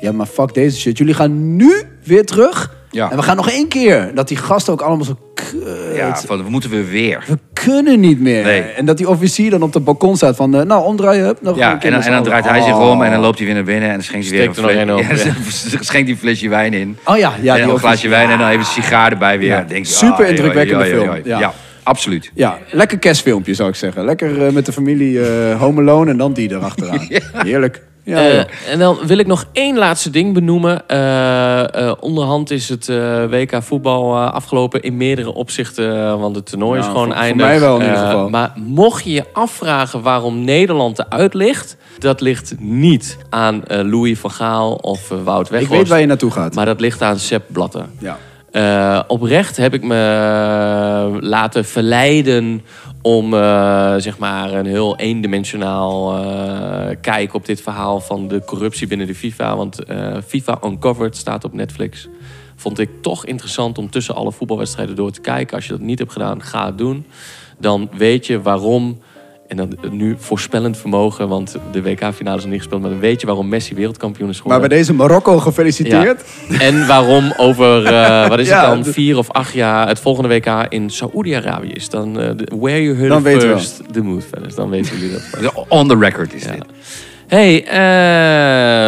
[SPEAKER 4] ja, maar fuck deze shit. Jullie gaan nu weer terug.
[SPEAKER 5] Ja.
[SPEAKER 4] En we gaan nog één keer. Dat die gasten ook allemaal zo, "Kut,
[SPEAKER 5] Ja, van, we moeten we weer.
[SPEAKER 4] we kunnen niet meer.
[SPEAKER 5] Nee.
[SPEAKER 4] En dat die officier dan op het balkon staat van, eh, nou, omdraaien, hup, nog
[SPEAKER 5] Ja,
[SPEAKER 4] een
[SPEAKER 5] en,
[SPEAKER 4] keer
[SPEAKER 5] dan-
[SPEAKER 4] met z'n
[SPEAKER 5] en dan
[SPEAKER 4] allen.
[SPEAKER 5] draait hij zich
[SPEAKER 4] Oh.
[SPEAKER 5] om en dan loopt hij weer naar binnen en dan schenkt hij weer
[SPEAKER 3] Steekt er nog
[SPEAKER 5] fles-
[SPEAKER 3] één
[SPEAKER 5] Ja, schenkt hij een flesje wijn in.
[SPEAKER 4] Oh ja, ja.
[SPEAKER 5] en
[SPEAKER 4] die
[SPEAKER 5] een glaasje
[SPEAKER 4] officier.
[SPEAKER 5] wijn en dan even een sigaar erbij weer. Dan denk je,
[SPEAKER 4] Super
[SPEAKER 5] ah, joh,
[SPEAKER 4] indrukwekkende
[SPEAKER 5] joh, joh,
[SPEAKER 4] film.
[SPEAKER 5] joh.
[SPEAKER 4] Ja.
[SPEAKER 5] Ja. Absoluut.
[SPEAKER 4] Ja, lekker kerstfilmpje zou ik zeggen. Lekker eh, met de familie eh, Home Alone en dan die erachteraan. Heerlijk. Ja,
[SPEAKER 3] Eh,
[SPEAKER 4] ja.
[SPEAKER 3] en dan wil ik nog één laatste ding benoemen. Eh, eh, onderhand is het eh, WK voetbal eh, afgelopen in meerdere opzichten. eh, want het toernooi is
[SPEAKER 4] Ja,
[SPEAKER 3] gewoon
[SPEAKER 4] voor- voor
[SPEAKER 3] eindig.
[SPEAKER 4] mij wel in ieder
[SPEAKER 3] Eh,
[SPEAKER 4] geval.
[SPEAKER 3] maar mocht je je afvragen waarom Nederland eruit ligt... dat ligt niet aan eh, Louis van Gaal of eh, Wout
[SPEAKER 4] Ik
[SPEAKER 3] Weghorst.
[SPEAKER 4] weet waar je naartoe gaat.
[SPEAKER 3] Maar dat ligt aan Sepp Blatter.
[SPEAKER 4] ja.
[SPEAKER 3] Eh, oprecht heb ik me eh, laten verleiden om eh, zeg maar een heel eendimensionaal eh, kijk op dit verhaal van de corruptie binnen de FIFA. Want eh, FIFA Uncovered staat op Netflix. Vond ik toch interessant om tussen alle voetbalwedstrijden door te kijken. Als je dat niet hebt gedaan, ga het doen. Dan weet je waarom. En dan eh, nu voorspellend vermogen, want de WK-finale is nog niet gespeeld. Maar dan weet je waarom Messi wereldkampioen is
[SPEAKER 4] Maar
[SPEAKER 3] geworden.
[SPEAKER 4] bij deze Marokko gefeliciteerd.
[SPEAKER 3] Ja. En waarom over, eh, wat is
[SPEAKER 4] Ja, dus-
[SPEAKER 3] het dan,
[SPEAKER 4] d-
[SPEAKER 3] vier of acht jaar het volgende WK in Saoedi-Arabië is. Dan eh, de- where you heard
[SPEAKER 4] Dan
[SPEAKER 3] it
[SPEAKER 4] weten we
[SPEAKER 3] first, the mood fellas. Dan weten jullie dat. wel.
[SPEAKER 5] Dus On the record is
[SPEAKER 3] Ja.
[SPEAKER 4] Nou,
[SPEAKER 5] dit.
[SPEAKER 3] Hey,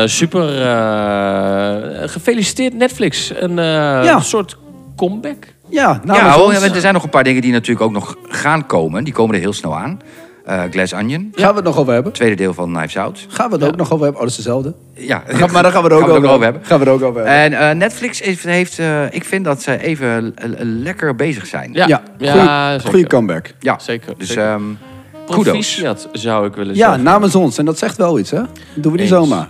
[SPEAKER 3] eh, super. eh, gefeliciteerd Netflix. Een eh, soort comeback.
[SPEAKER 4] Ja, nou,
[SPEAKER 5] Ja,
[SPEAKER 4] maar
[SPEAKER 5] hoor,
[SPEAKER 4] soms-
[SPEAKER 5] er zijn nog een paar dingen die natuurlijk ook nog gaan komen. Die komen er heel snel aan. Eh Glass Onion,
[SPEAKER 4] Gaan we het nog over hebben?
[SPEAKER 5] tweede deel van Knives Out.
[SPEAKER 4] Gaan we het ook nog over hebben? Oh, dat is dezelfde.
[SPEAKER 5] Ja,
[SPEAKER 4] Ga- maar daar gaan we het ook
[SPEAKER 5] het
[SPEAKER 4] over hebben. Gaan we het ook over hebben.
[SPEAKER 5] En eh, Netflix heeft, heeft, eh, ik vind dat ze even eh, lekker bezig zijn.
[SPEAKER 3] Ja,
[SPEAKER 4] ja, goeie,
[SPEAKER 3] zeker.
[SPEAKER 4] goeie comeback.
[SPEAKER 5] Ja,
[SPEAKER 3] Zeker,
[SPEAKER 5] Dus
[SPEAKER 3] zeker.
[SPEAKER 5] ehm, kudos.
[SPEAKER 3] Proficiat zou ik willen
[SPEAKER 4] Ja,
[SPEAKER 3] zeggen.
[SPEAKER 4] namens ons. En dat zegt wel iets, hè? Dat doen we niet
[SPEAKER 3] Eens.
[SPEAKER 4] zomaar.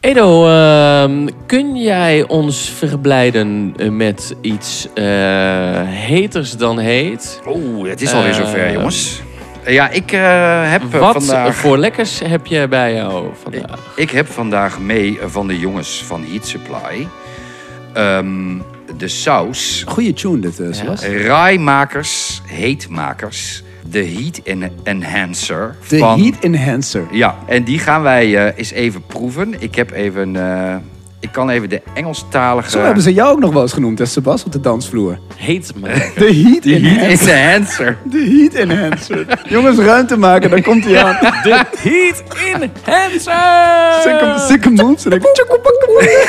[SPEAKER 3] Edo, ehm, kun jij ons verblijden eh, met iets eh, heters dan heet?
[SPEAKER 5] Oeh, het is alweer
[SPEAKER 3] Eh,
[SPEAKER 5] zover, jongens. Eh, Ja, ik eh, heb eh,
[SPEAKER 3] Wat
[SPEAKER 5] vandaag...
[SPEAKER 3] voor lekkers heb jij bij jou vandaag?
[SPEAKER 5] Ik heb vandaag mee eh, van de jongens van Heat Supply... ehm, de saus,
[SPEAKER 4] Goeie tune dit, eh, Sebas.
[SPEAKER 5] raaimakers, heetmakers... de Heat en- Enhancer
[SPEAKER 4] De
[SPEAKER 5] van...
[SPEAKER 4] Heat Enhancer.
[SPEAKER 5] Ja, en die gaan wij eh, eens even proeven. Ik heb even... eh, ik kan even de Engelstalige...
[SPEAKER 4] Zo hebben ze jou ook nog wel eens genoemd, hè, Sebas, op de dansvloer.
[SPEAKER 3] Heet maar.
[SPEAKER 4] De Heat
[SPEAKER 5] De Heat
[SPEAKER 4] Enhancer.
[SPEAKER 5] Enhancer.
[SPEAKER 4] De Heat Enhancer. Jongens, ruimte maken, daar komt hij aan.
[SPEAKER 3] De Heat Enhancer!
[SPEAKER 4] Sikke, sikke moves. En ik tjoekoepakke,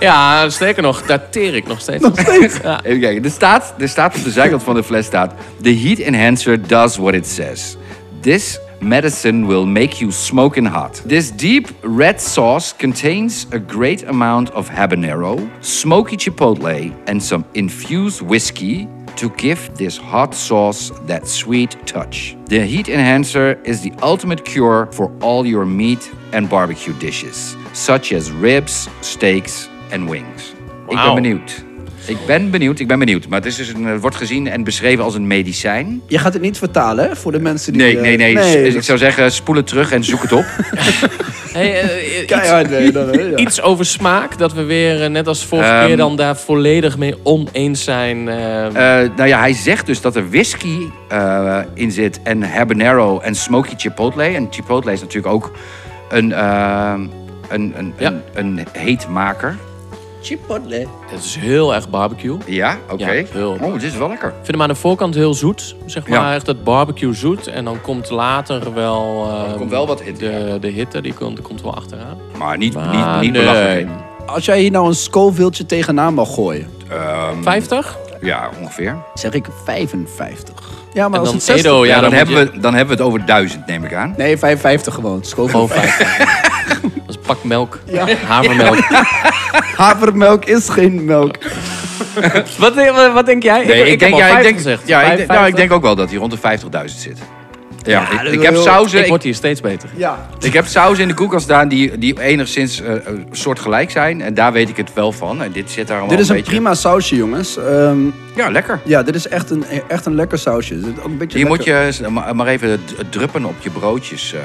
[SPEAKER 3] Ja, sterker nog, dateer ik nog steeds.
[SPEAKER 4] nog steeds.
[SPEAKER 5] Even kijken. Er staat, er staat op de zijkant van de fles staat... The heat enhancer does what it says. This medicine will make you smoking hot. This deep red sauce contains a great amount of habanero, smoky chipotle and some infused whiskey to give this hot sauce that sweet touch. The heat enhancer is the ultimate cure for all your meat and barbecue dishes, such as ribs, steaks and wings. Ik ben
[SPEAKER 3] Wauw.
[SPEAKER 5] benieuwd. Ik ben benieuwd, ik ben benieuwd. Maar het, is dus een, het wordt gezien en beschreven als een medicijn.
[SPEAKER 4] Je gaat het niet vertalen, hè, voor de mensen die...
[SPEAKER 5] Nee,
[SPEAKER 4] eh,
[SPEAKER 5] nee, nee. S-
[SPEAKER 4] dat
[SPEAKER 5] ik
[SPEAKER 4] is
[SPEAKER 5] zou zeggen, spoel het terug en zoek het op.
[SPEAKER 3] Hey, eh, iets-
[SPEAKER 4] Keihard, nee, dan, hè, ja.
[SPEAKER 3] Iets over smaak, dat we weer, eh, net als vorige
[SPEAKER 5] Ehm.
[SPEAKER 3] keer, dan daar volledig mee oneens zijn. eh,
[SPEAKER 5] Eh, nou ja, hij zegt dus dat er whisky eh, in zit en habanero en smoky chipotle. En chipotle is natuurlijk ook een, eh, een, een,
[SPEAKER 3] Ja.
[SPEAKER 5] een, een heetmaker.
[SPEAKER 4] Chipotle.
[SPEAKER 3] Het is heel erg barbecue.
[SPEAKER 5] Ja, oké.
[SPEAKER 3] Ja, heel.
[SPEAKER 5] oh, dit is wel lekker.
[SPEAKER 3] Ik vind hem aan de voorkant heel zoet, zeg maar.
[SPEAKER 5] Ja.
[SPEAKER 3] Echt dat barbecue zoet. En dan komt later wel... eh,
[SPEAKER 5] Er komt wel wat hitte,
[SPEAKER 3] De, de hitte, die komt, komt wel achteraan.
[SPEAKER 5] Maar niet,
[SPEAKER 3] Ah,
[SPEAKER 5] niet, niet
[SPEAKER 3] nee.
[SPEAKER 5] belachelijk.
[SPEAKER 4] Als jij hier nou een Scoville'tje tegenaan mag gooien,
[SPEAKER 3] 50?
[SPEAKER 5] Ja, ongeveer.
[SPEAKER 4] zeg ik 55. Ja, maar
[SPEAKER 3] En
[SPEAKER 4] als
[SPEAKER 3] dan
[SPEAKER 4] het 60...
[SPEAKER 3] Edo, Oh ja,
[SPEAKER 5] ja,
[SPEAKER 3] dan
[SPEAKER 5] dan,
[SPEAKER 3] moet
[SPEAKER 5] hebben
[SPEAKER 3] je-
[SPEAKER 5] we, dan hebben we het over duizend, neem ik aan.
[SPEAKER 4] Nee, 55 gewoon.
[SPEAKER 3] Gewoon
[SPEAKER 4] Scoville.
[SPEAKER 3] 50. dat is een pak melk. Havermelk.
[SPEAKER 4] Havermelk is geen melk.
[SPEAKER 3] Wat, wat, wat denk jij?
[SPEAKER 5] Nee, ik, denk,
[SPEAKER 3] heb al
[SPEAKER 5] ja, ik
[SPEAKER 3] 50
[SPEAKER 5] denk,
[SPEAKER 3] gezegd.
[SPEAKER 5] ja, ik, denk- nou,
[SPEAKER 3] 55.
[SPEAKER 5] ik denk ook wel dat hij rond de 50.000 zit. Ja, ik,
[SPEAKER 4] dat
[SPEAKER 5] ik
[SPEAKER 4] wil-
[SPEAKER 5] heb sauzen,
[SPEAKER 3] Ik
[SPEAKER 5] ik,
[SPEAKER 3] word hier steeds beter.
[SPEAKER 4] Ja.
[SPEAKER 5] ik heb sauzen in de koelkast staan die, die enigszins eh, eh, soortgelijk zijn. En daar weet ik het wel van. En dit zit daar allemaal
[SPEAKER 4] Dit is een
[SPEAKER 5] beetje...
[SPEAKER 4] prima sausje, jongens. Ehm,
[SPEAKER 5] Ja, lekker.
[SPEAKER 4] ja, dit is echt een, echt een lekker sausje. Er zit ook een beetje
[SPEAKER 5] Hier moet
[SPEAKER 4] lekker-
[SPEAKER 5] je s- maar maar even d- druppen op je broodjes. eh.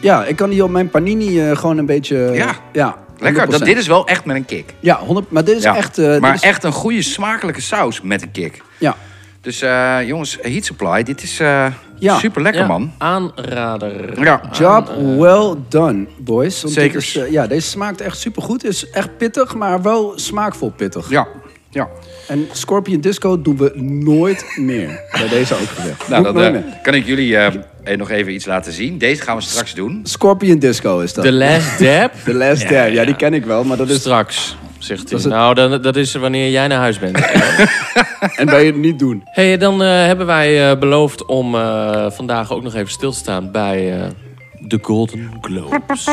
[SPEAKER 4] Ja, ik kan hier op mijn panini eh, gewoon een beetje...
[SPEAKER 5] Ja.
[SPEAKER 4] ja
[SPEAKER 5] lekker, dat,
[SPEAKER 4] 100%.
[SPEAKER 5] dit is wel echt met een kick.
[SPEAKER 4] Ja, 100, maar dit is
[SPEAKER 5] Ja.
[SPEAKER 4] echt... eh, dit
[SPEAKER 5] maar
[SPEAKER 4] is-
[SPEAKER 5] echt een goede smakelijke saus met een kick.
[SPEAKER 4] Ja.
[SPEAKER 5] Dus eh, jongens, Heat Supply, dit is eh
[SPEAKER 4] Ja.
[SPEAKER 5] super lekker,
[SPEAKER 3] Ja,
[SPEAKER 5] man.
[SPEAKER 3] Aanrader.
[SPEAKER 5] Ja.
[SPEAKER 4] Job well done, boys. Want
[SPEAKER 5] Zeker.
[SPEAKER 4] dit is, eh, ja, deze smaakt echt supergoed. Is echt pittig, maar wel smaakvol pittig.
[SPEAKER 5] Ja, ja.
[SPEAKER 4] En Scorpion Disco doen we nooit meer. Bij deze ook gezegd. Doen
[SPEAKER 5] Nou, dan
[SPEAKER 4] we nooit
[SPEAKER 5] eh,
[SPEAKER 4] meer.
[SPEAKER 5] kan ik jullie eh, eh, nog even iets laten zien. Deze gaan we straks doen.
[SPEAKER 4] Scorpion Disco is dat.
[SPEAKER 3] The Last Dab.
[SPEAKER 4] The Last Dab. Ja, die ken ik wel, maar dat is...
[SPEAKER 3] Dus Straks. Zegt hij.
[SPEAKER 4] Dat is het-
[SPEAKER 3] Nou, dan, dat is wanneer jij naar huis bent.
[SPEAKER 4] En wij het niet doen.
[SPEAKER 3] hey, dan eh, hebben wij eh, beloofd om eh, vandaag ook nog even stil te staan bij eh, de Golden Globes.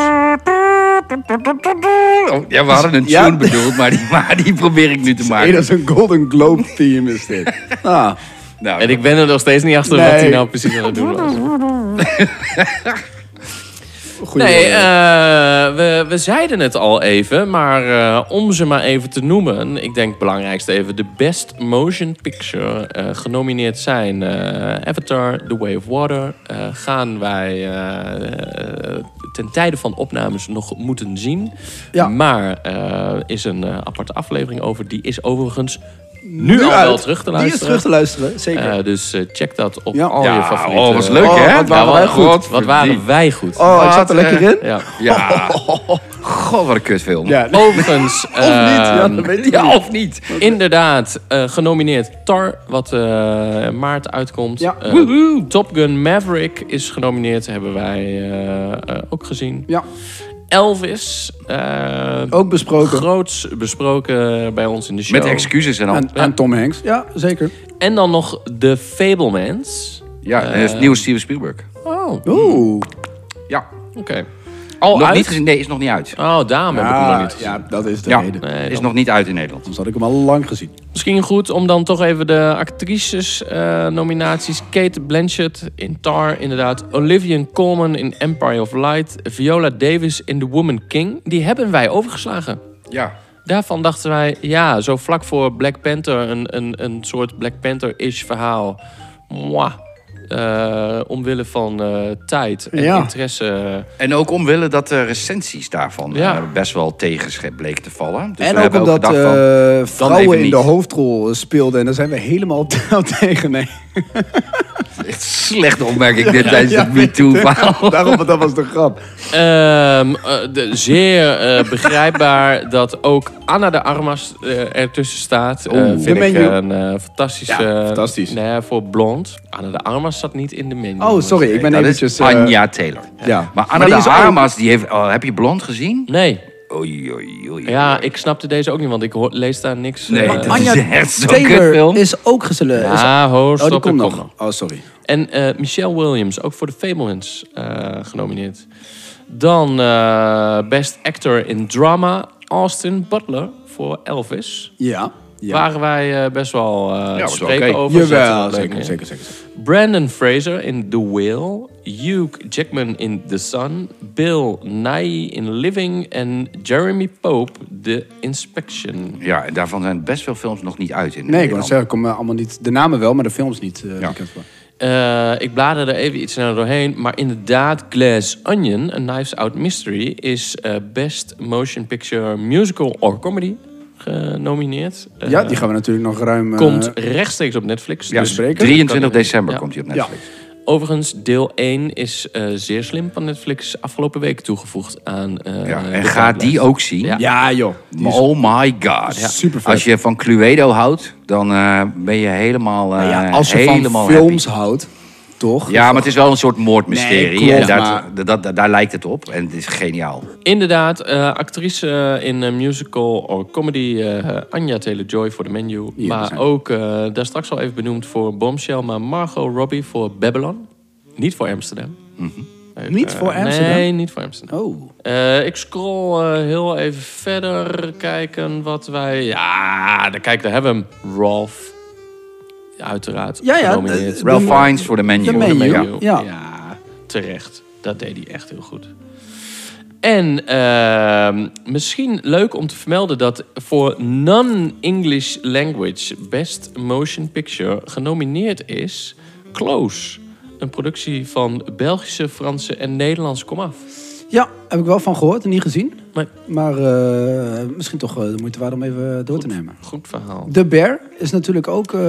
[SPEAKER 5] Oh, Ja, we hadden een
[SPEAKER 4] Ja.
[SPEAKER 5] tune bedoeld, maar die, maar die probeer ik nu te
[SPEAKER 4] Nee, dat
[SPEAKER 5] maken.
[SPEAKER 4] is een Golden Globe theme is dit. Ah,
[SPEAKER 5] Nou,
[SPEAKER 3] En ik ben er nog steeds niet achter wat
[SPEAKER 4] Nee.
[SPEAKER 3] hij nou precies aan het doen was.
[SPEAKER 4] goeie
[SPEAKER 3] nee,
[SPEAKER 4] eh,
[SPEAKER 3] eh, we, we zeiden het al even, maar eh, om ze maar even te noemen. Ik denk het belangrijkste even. De Best Motion Picture eh, genomineerd zijn eh, Avatar, The Way of Water. eh, gaan wij eh, eh, ten tijde van opnames nog moeten zien.
[SPEAKER 4] Ja.
[SPEAKER 3] Maar eh is een eh, aparte aflevering over. Die is overigens nu, al wel
[SPEAKER 4] uit.
[SPEAKER 3] terug te
[SPEAKER 4] Die is
[SPEAKER 3] luisteren.
[SPEAKER 4] terug te luisteren, zeker.
[SPEAKER 3] Eh, dus eh, check dat op
[SPEAKER 4] Ja.
[SPEAKER 3] al je
[SPEAKER 5] ja,
[SPEAKER 3] favoriete...
[SPEAKER 5] oh, was leuk,
[SPEAKER 4] Oh,
[SPEAKER 5] hè?
[SPEAKER 4] wat waren
[SPEAKER 5] Ja,
[SPEAKER 4] wij goed.
[SPEAKER 5] godverdien-
[SPEAKER 3] Wat waren wij goed.
[SPEAKER 4] oh, ik zat er
[SPEAKER 5] wat,
[SPEAKER 4] lekker
[SPEAKER 5] eh,
[SPEAKER 4] in.
[SPEAKER 3] Ja.
[SPEAKER 5] Ja. God, wat een kutfilm.
[SPEAKER 4] Ja, nee,
[SPEAKER 3] Overigens,
[SPEAKER 4] of niet, ja,
[SPEAKER 3] ehm,
[SPEAKER 4] dat weet ik niet.
[SPEAKER 5] Ja, of niet?
[SPEAKER 3] inderdaad, eh, genomineerd Tar, wat eh, maart uitkomt.
[SPEAKER 4] Ja.
[SPEAKER 3] Eh, Top Gun Maverick is genomineerd, hebben wij eh, eh, ook gezien.
[SPEAKER 4] Ja,
[SPEAKER 3] Elvis, eh,
[SPEAKER 4] ook besproken.
[SPEAKER 3] groots besproken bij ons in de show.
[SPEAKER 5] Met excuses en al.
[SPEAKER 4] aan, aan Tom Hanks. Ja, zeker.
[SPEAKER 3] en dan nog The Fablemans.
[SPEAKER 5] ja,
[SPEAKER 4] eh,
[SPEAKER 5] en het is nieuwe Steven Spielberg.
[SPEAKER 3] Oh, oké.
[SPEAKER 4] Oeh.
[SPEAKER 5] Ja. Al nog
[SPEAKER 3] uit?
[SPEAKER 5] niet gezien? Nee, is nog niet uit.
[SPEAKER 3] Oh, daarom heb ik hem nog
[SPEAKER 4] Ja,
[SPEAKER 3] niet gezien.
[SPEAKER 4] Ah, ja, Dus dat is de
[SPEAKER 5] Ja,
[SPEAKER 4] reden.
[SPEAKER 3] Nee,
[SPEAKER 5] is
[SPEAKER 3] dan-
[SPEAKER 5] nog niet uit in Nederland.
[SPEAKER 4] Anders had ik hem al lang gezien.
[SPEAKER 3] Misschien goed om dan toch even de actrices-nominaties. Kate Blanchett in Tar, inderdaad. Olivia Colman in Empire of Light. Viola Davis in The Woman King. Die hebben wij overgeslagen.
[SPEAKER 5] Ja.
[SPEAKER 3] Daarvan dachten wij, ja, zo vlak voor Black Panther, een, een, een soort Black Panther-ish verhaal. Mwah. Eh, omwille van eh, tijd en
[SPEAKER 4] Ja.
[SPEAKER 3] interesse.
[SPEAKER 5] En ook omwille dat de recensies daarvan
[SPEAKER 3] Ja.
[SPEAKER 5] eh, best wel tegen bleek te vallen. Dus
[SPEAKER 4] en
[SPEAKER 5] we
[SPEAKER 4] ook
[SPEAKER 5] hebben
[SPEAKER 4] omdat
[SPEAKER 5] gedacht van,
[SPEAKER 4] eh, vrouwen
[SPEAKER 5] even
[SPEAKER 4] in de
[SPEAKER 5] niet.
[SPEAKER 4] hoofdrol eh, speelden. En daar zijn we helemaal tegen. Nee.
[SPEAKER 5] echt slechte opmerking dit tijdens het Me Too verhaal.
[SPEAKER 4] Daarom, dat was de grap.
[SPEAKER 3] Ehm, eh, de, zeer eh, begrijpbaar dat ook Anna de Armas eh, ertussen staat. Eh,
[SPEAKER 4] de
[SPEAKER 3] vind ik
[SPEAKER 4] menu.
[SPEAKER 3] een eh, fantastische...
[SPEAKER 4] Ja, fantastisch.
[SPEAKER 3] nou ja, voor blond. Anna de Armas zat niet in de menu.
[SPEAKER 4] Oh, sorry. Ik ben
[SPEAKER 5] Dat Nou, is
[SPEAKER 4] eventjes... eh,
[SPEAKER 5] Anja Taylor.
[SPEAKER 4] Ja.
[SPEAKER 5] Maar Anna
[SPEAKER 4] die
[SPEAKER 5] de
[SPEAKER 4] is ook-
[SPEAKER 5] Armas, die heeft, oh, heb je Blond gezien?
[SPEAKER 3] Nee.
[SPEAKER 5] Oei, oei, oei.
[SPEAKER 3] Ja, ik snapte deze ook niet, want ik hoor- lees daar niks.
[SPEAKER 5] Nee,
[SPEAKER 3] eh,
[SPEAKER 5] dat
[SPEAKER 4] Anja
[SPEAKER 5] is echt zo'n
[SPEAKER 4] Taylor
[SPEAKER 5] kutfilm.
[SPEAKER 4] is ook gezellen. is-
[SPEAKER 3] Ja, ho,
[SPEAKER 4] oh,
[SPEAKER 3] stop,
[SPEAKER 4] die Oh, komt
[SPEAKER 3] ik
[SPEAKER 4] nog.
[SPEAKER 3] kom nog.
[SPEAKER 4] Oh, sorry.
[SPEAKER 3] En eh, Michelle Williams, ook voor de Fablemans eh, genomineerd. Dan eh, Best Actor in Drama, Austin Butler voor Elvis.
[SPEAKER 4] Ja. ja.
[SPEAKER 3] waren wij eh, best wel eh te
[SPEAKER 5] was
[SPEAKER 3] spreken
[SPEAKER 5] oké.
[SPEAKER 3] over. Zetten we
[SPEAKER 4] Jawel,
[SPEAKER 3] leuk in.
[SPEAKER 4] zeker, zeker, zeker. zeker.
[SPEAKER 3] Brandon Fraser in The Whale. Hugh Jackman in The Sun. Bill Nye in Living. En Jeremy Pope, The Inspection.
[SPEAKER 5] Ja, en daarvan zijn best veel films nog niet uit in
[SPEAKER 4] Nee, ik wou
[SPEAKER 5] Nederland.
[SPEAKER 4] zeggen, ik kom eh, allemaal niet... De namen wel, maar de films niet. eh,
[SPEAKER 5] Ja.
[SPEAKER 4] bekend voor.
[SPEAKER 3] Eh, ik blader er even iets sneller doorheen. Maar inderdaad, Glass Onion, A Knives Out Mystery... is eh, Best Motion Picture Musical or Comedy genomineerd. Eh,
[SPEAKER 4] Ja, die gaan we natuurlijk nog ruim... eh,
[SPEAKER 3] Komt rechtstreeks op Netflix.
[SPEAKER 5] Ja,
[SPEAKER 3] dus
[SPEAKER 4] spreken.
[SPEAKER 5] 23 december
[SPEAKER 3] Ja.
[SPEAKER 5] komt hij op
[SPEAKER 4] Ja.
[SPEAKER 5] Netflix.
[SPEAKER 3] Overigens, deel 1 is eh, zeer slim van Netflix afgelopen week toegevoegd aan. eh,
[SPEAKER 5] Ja.
[SPEAKER 3] de
[SPEAKER 5] En ga die
[SPEAKER 3] tijdlijst.
[SPEAKER 5] ook zien.
[SPEAKER 3] Ja.
[SPEAKER 4] Ja, joh. Die is-
[SPEAKER 5] Oh my god.
[SPEAKER 4] Ja. Super vet.
[SPEAKER 5] Als je van Cluedo houdt, dan eh, ben je helemaal eh,
[SPEAKER 4] Nou ja, als je
[SPEAKER 5] helemaal
[SPEAKER 4] van films
[SPEAKER 5] happy.
[SPEAKER 4] houdt, toch?
[SPEAKER 5] Ja, maar het is wel een soort moordmysterie.
[SPEAKER 4] Nee, klopt,
[SPEAKER 5] en daar,
[SPEAKER 4] maar-
[SPEAKER 5] dat, dat- daar lijkt het op. En het is geniaal.
[SPEAKER 3] Inderdaad, eh, actrice in een musical of comedy, eh Anja Taylor-Joy voor The Menu. maar ook, eh, daar straks al even benoemd voor Bombshell, maar Margot Robbie voor Babylon. Niet voor Amsterdam.
[SPEAKER 5] Mhm.
[SPEAKER 3] Even,
[SPEAKER 4] Niet voor
[SPEAKER 3] eh,
[SPEAKER 4] Amsterdam?
[SPEAKER 3] Nee, niet voor Amsterdam.
[SPEAKER 4] Oh.
[SPEAKER 3] Eh, ik scroll eh, heel even verder. Kijken wat wij. Ja, daar, kijk, daar hebben we hem. Rolf. Uiteraard.
[SPEAKER 4] Ja, ja,
[SPEAKER 3] genomineerd.
[SPEAKER 4] eh,
[SPEAKER 5] Ralph
[SPEAKER 4] De-
[SPEAKER 5] Fiennes voor de menu.
[SPEAKER 4] de menu.
[SPEAKER 5] Ja.
[SPEAKER 4] Ja.
[SPEAKER 3] Ja. terecht. Dat deed hij echt heel goed. En ehm, misschien leuk om te vermelden dat voor non-English language best motion picture genomineerd is Close. Een productie van Belgische, Franse en Nederlands komaf.
[SPEAKER 4] Ja, heb ik wel van gehoord en niet gezien.
[SPEAKER 3] Maar
[SPEAKER 4] Maar eh, misschien toch eh, de moeite waard om even door te nemen.
[SPEAKER 3] goed verhaal.
[SPEAKER 4] The Bear is natuurlijk ook... eh,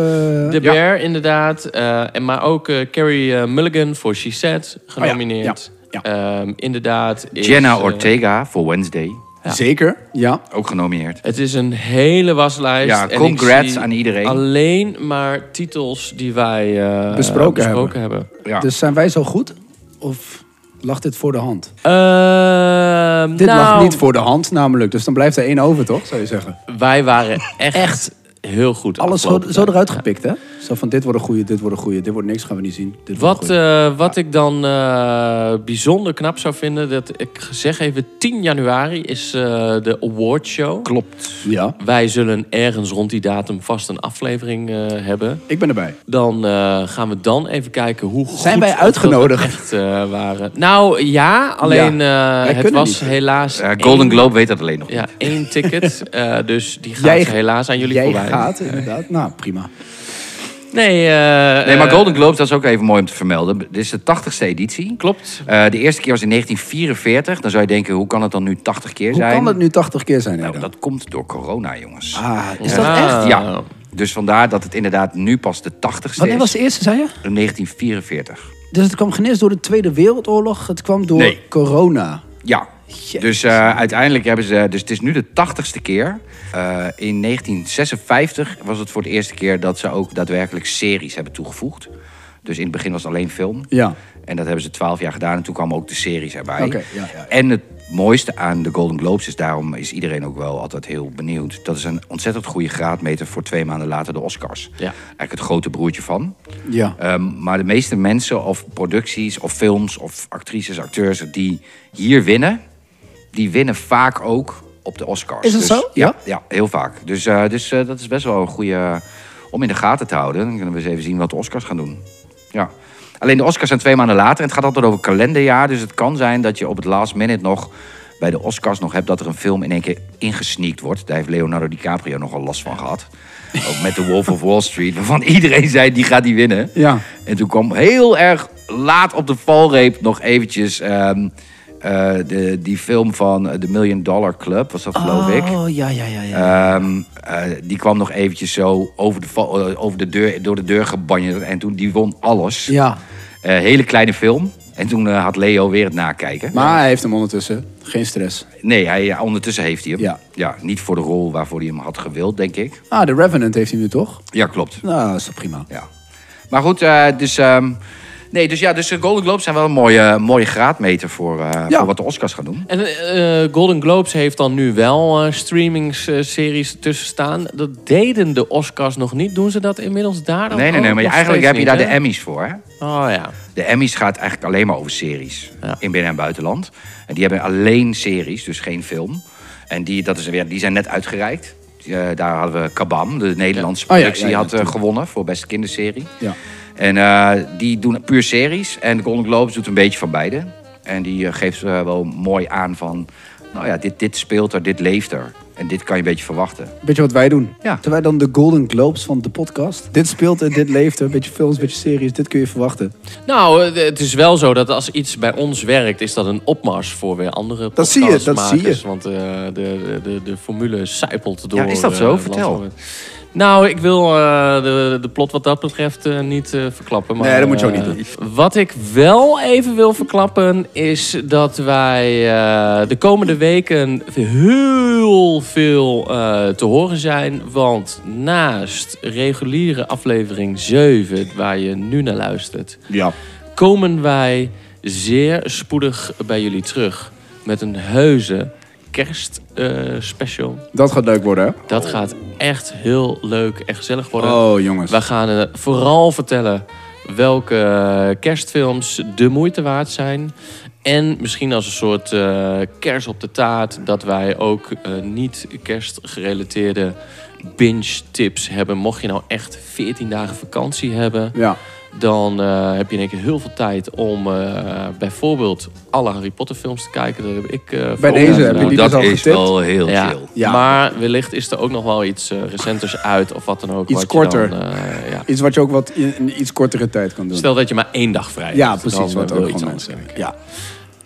[SPEAKER 3] De Bear, inderdaad. eh, en maar ook eh, Carrie eh, Mulligan voor She Said, genomineerd.
[SPEAKER 4] ja,
[SPEAKER 3] Ehm, inderdaad. is,
[SPEAKER 5] Jenna
[SPEAKER 3] eh,
[SPEAKER 5] Ortega voor Wednesday.
[SPEAKER 4] Zeker, ja.
[SPEAKER 5] Ook genomineerd.
[SPEAKER 3] het is een hele waslijst.
[SPEAKER 5] Ja,
[SPEAKER 3] en
[SPEAKER 5] congrats
[SPEAKER 3] ik zie
[SPEAKER 5] aan iedereen.
[SPEAKER 3] Alleen maar titels die wij eh,
[SPEAKER 4] Besproken
[SPEAKER 3] besproken hebben.
[SPEAKER 5] Ja.
[SPEAKER 3] Nou.
[SPEAKER 4] Dus zijn wij zo goed? Of lag dit voor de hand?
[SPEAKER 3] Eh, Ehm,
[SPEAKER 4] Dit lag
[SPEAKER 3] nou,
[SPEAKER 4] niet voor de hand namelijk, dus dan blijft er één over, toch? Zou je zeggen.
[SPEAKER 3] Wij waren echt, heel goed.
[SPEAKER 4] Alles zo,
[SPEAKER 3] afgelopen
[SPEAKER 4] zo
[SPEAKER 3] tijd.
[SPEAKER 4] eruit gepikt, hè? Zo van, dit wordt een goeie, dit wordt een goeie, dit wordt niks, gaan we niet zien. Dit wordt
[SPEAKER 3] Wat,
[SPEAKER 4] een goeie.
[SPEAKER 3] eh, wat ik dan eh, bijzonder knap zou vinden, dat ik zeg even 10 januari is eh, de awardshow.
[SPEAKER 5] Klopt.
[SPEAKER 4] Ja,
[SPEAKER 3] Wij zullen ergens rond die datum vast een aflevering eh, hebben.
[SPEAKER 4] ik ben erbij.
[SPEAKER 3] Dan eh, gaan we dan even kijken hoe goed...
[SPEAKER 4] Zijn wij
[SPEAKER 3] of dat
[SPEAKER 4] uitgenodigd?
[SPEAKER 3] we echt eh, waren. Nou ja, alleen
[SPEAKER 4] Ja,
[SPEAKER 3] eh,
[SPEAKER 4] wij
[SPEAKER 3] het
[SPEAKER 4] kunnen
[SPEAKER 3] was
[SPEAKER 4] niet.
[SPEAKER 3] helaas...
[SPEAKER 5] Eh,
[SPEAKER 3] één-
[SPEAKER 5] Golden Globe weet dat alleen nog.
[SPEAKER 3] Ja, één ticket. Eh, dus die gaat
[SPEAKER 4] Jij-
[SPEAKER 3] helaas aan jullie
[SPEAKER 4] Jij
[SPEAKER 3] voorbij.
[SPEAKER 4] gaat, inderdaad. Nou, prima.
[SPEAKER 3] Nee, eh,
[SPEAKER 5] Nee, maar
[SPEAKER 3] eh,
[SPEAKER 5] Golden Globes, dat is ook even mooi om te vermelden. Dit is de 80ste editie.
[SPEAKER 3] Klopt.
[SPEAKER 5] Eh, de eerste keer was in 1944. Dan zou je denken, hoe kan het dan nu 80 keer
[SPEAKER 4] Hoe
[SPEAKER 5] zijn?
[SPEAKER 4] kan dat nu 80 keer zijn,
[SPEAKER 5] Nou,
[SPEAKER 4] Eda?
[SPEAKER 5] dat komt door corona, jongens.
[SPEAKER 4] Ah, is
[SPEAKER 3] Ja.
[SPEAKER 4] dat echt?
[SPEAKER 5] Ja. Dus vandaar dat het inderdaad nu pas de 80ste
[SPEAKER 4] Wanneer was
[SPEAKER 5] is.
[SPEAKER 4] de eerste, zei je?
[SPEAKER 5] In 1944.
[SPEAKER 4] Dus het kwam geen eens door de Tweede Wereldoorlog, het kwam door
[SPEAKER 5] Nee.
[SPEAKER 4] corona.
[SPEAKER 5] Ja. Dus eh, uiteindelijk hebben ze. Dus het is nu de 80ste keer. Eh, in 1956 was het voor de eerste keer dat ze ook daadwerkelijk series hebben toegevoegd. Dus in het begin was het alleen film.
[SPEAKER 4] Ja.
[SPEAKER 5] En dat hebben ze twaalf jaar gedaan. En toen kwamen ook de series erbij.
[SPEAKER 4] Oké, ja, ja, ja.
[SPEAKER 5] En het mooiste aan de Golden Globes is daarom is iedereen ook wel altijd heel benieuwd. Dat is een ontzettend goede graadmeter voor twee maanden later de Oscars.
[SPEAKER 3] Ja.
[SPEAKER 5] Eigenlijk het grote broertje van.
[SPEAKER 4] Ja.
[SPEAKER 5] Ehm, maar de meeste mensen of producties of films of actrices, acteurs die hier winnen, die winnen vaak ook op de Oscars.
[SPEAKER 4] Is dat
[SPEAKER 5] Dus-
[SPEAKER 4] zo? Ja?
[SPEAKER 5] Ja, ja, heel vaak. Dus, eh, dus eh, dat is best wel een goede eh, om in de gaten te houden. Dan kunnen we eens even zien wat de Oscars gaan doen. Ja. Alleen de Oscars zijn twee maanden later en het gaat altijd over kalenderjaar. Dus het kan zijn dat je op het last minute nog bij de Oscars nog hebt dat er een film in één keer ingesneakt wordt. Daar heeft Leonardo DiCaprio nogal last van gehad. Ook met The Wolf of Wall Street, waarvan iedereen zei die gaat die winnen.
[SPEAKER 4] Ja.
[SPEAKER 5] En toen kwam heel erg laat op de valreep nog eventjes ehm, eh, de, die film van eh, The Million Dollar Club, was dat geloof ik.
[SPEAKER 4] Oh, ja, ja, ja. ja.
[SPEAKER 5] Ehm, eh, die kwam nog eventjes zo over de, val- eh, over de deur, door de deur gebanjerd. En toen die won alles.
[SPEAKER 4] ja.
[SPEAKER 5] Eh, hele kleine film. En toen eh, had Leo weer het nakijken. Eh,
[SPEAKER 4] Maar hij heeft hem ondertussen. Geen stress.
[SPEAKER 5] Nee, hij, ja, ondertussen heeft hij hem.
[SPEAKER 4] Ja.
[SPEAKER 5] niet voor de rol waarvoor hij hem had gewild, denk ik.
[SPEAKER 4] Ah, de Revenant heeft hij nu toch?
[SPEAKER 5] Ja, klopt.
[SPEAKER 4] Nou, is toch prima.
[SPEAKER 5] Ja. Maar goed, eh, dus... ehm, nee, dus ja, dus de Golden Globes zijn wel een mooie, mooie graadmeter voor, eh,
[SPEAKER 4] Ja.
[SPEAKER 5] voor wat de Oscars gaan doen.
[SPEAKER 3] En eh, Golden Globes heeft dan nu wel eh streamingsseries tussen staan. Dat deden de Oscars nog niet. Doen ze dat inmiddels daar dan
[SPEAKER 5] Nee, nee,
[SPEAKER 3] ook
[SPEAKER 5] nee, maar
[SPEAKER 3] nog
[SPEAKER 5] eigenlijk heb je
[SPEAKER 3] steeds
[SPEAKER 5] daar de
[SPEAKER 3] niet,
[SPEAKER 5] Emmys voor, hè?
[SPEAKER 3] hè? Oh ja.
[SPEAKER 5] De Emmys gaat eigenlijk alleen maar over series.
[SPEAKER 3] Ja.
[SPEAKER 5] In binnen- en buitenland. En die hebben alleen series, dus geen film. En die, dat is, weer- die zijn net uitgereikt. Eh, daar hadden we Kabam, de Nederlandse
[SPEAKER 4] Ja. Oh ja, ja,
[SPEAKER 5] productie,
[SPEAKER 4] ja,
[SPEAKER 5] had eh, gewonnen voor beste kinderserie.
[SPEAKER 4] Ja.
[SPEAKER 5] En eh, die doen puur series. En de Golden Globes doet een beetje van beide. En die eh, geeft eh, wel mooi aan van... Nou ja, dit, dit speelt er, dit leeft er. En dit kan je een beetje verwachten.
[SPEAKER 4] Beetje wat wij doen.
[SPEAKER 5] Ja.
[SPEAKER 4] Terwijl dan de Golden Globes van de podcast. Dit speelt er, dit leeft er. Beetje films, beetje series. Dit kun je verwachten.
[SPEAKER 3] Nou, eh, het is wel zo dat als iets bij ons werkt, is dat een opmars voor weer andere
[SPEAKER 4] Dat zie je, dat
[SPEAKER 3] podcastmakers,
[SPEAKER 4] zie je.
[SPEAKER 3] Want eh, de, de, de formule sijpelt door.
[SPEAKER 5] is dat
[SPEAKER 3] eh,
[SPEAKER 5] zo?
[SPEAKER 3] land
[SPEAKER 5] Vertel.
[SPEAKER 3] van- Nou, ik wil eh, de, de plot wat dat betreft eh, niet eh, verklappen. Maar,
[SPEAKER 4] Nee, dat moet je ook
[SPEAKER 3] eh,
[SPEAKER 4] niet doen.
[SPEAKER 3] Wat ik wel even wil verklappen is dat wij eh, de komende weken heel veel eh, te horen zijn. Want naast reguliere aflevering 7, waar je nu naar luistert
[SPEAKER 4] Ja.
[SPEAKER 3] komen wij zeer spoedig bij jullie terug met een heuse kerstspecial.
[SPEAKER 4] Dat gaat leuk worden, hè?
[SPEAKER 3] dat gaat echt heel leuk en gezellig worden.
[SPEAKER 4] Oh, jongens.
[SPEAKER 3] We gaan eh, vooral vertellen welke eh, kerstfilms de moeite waard zijn. En misschien als een soort eh, kers op de taart dat wij ook eh, niet kerstgerelateerde binge tips hebben. Mocht je nou echt 14 dagen vakantie hebben,
[SPEAKER 4] Ja.
[SPEAKER 3] dan eh, heb je in één keer heel veel tijd om eh, bijvoorbeeld alle Harry Potter films te kijken. Dat heb ik eh, voor
[SPEAKER 4] deze
[SPEAKER 3] ons
[SPEAKER 4] heb je
[SPEAKER 3] gedaan.
[SPEAKER 4] die dus
[SPEAKER 5] dat
[SPEAKER 4] al
[SPEAKER 5] is
[SPEAKER 4] getipt?
[SPEAKER 5] wel heel
[SPEAKER 3] ja.
[SPEAKER 5] chill.
[SPEAKER 4] Ja.
[SPEAKER 3] Maar wellicht is er ook nog wel iets eh, recenters uit of wat dan ook.
[SPEAKER 4] Iets
[SPEAKER 3] wat je
[SPEAKER 4] korter.
[SPEAKER 3] dan, eh, ja.
[SPEAKER 4] Iets wat je ook wat in een iets kortere tijd kan doen.
[SPEAKER 3] Stel dat je maar één dag vrij hebt.
[SPEAKER 4] ja, precies.
[SPEAKER 3] dan,
[SPEAKER 4] Wat
[SPEAKER 3] eh,
[SPEAKER 4] ook
[SPEAKER 3] wil je iets
[SPEAKER 4] gewoon
[SPEAKER 3] anders
[SPEAKER 4] mensen-
[SPEAKER 3] kijken.
[SPEAKER 4] Ja.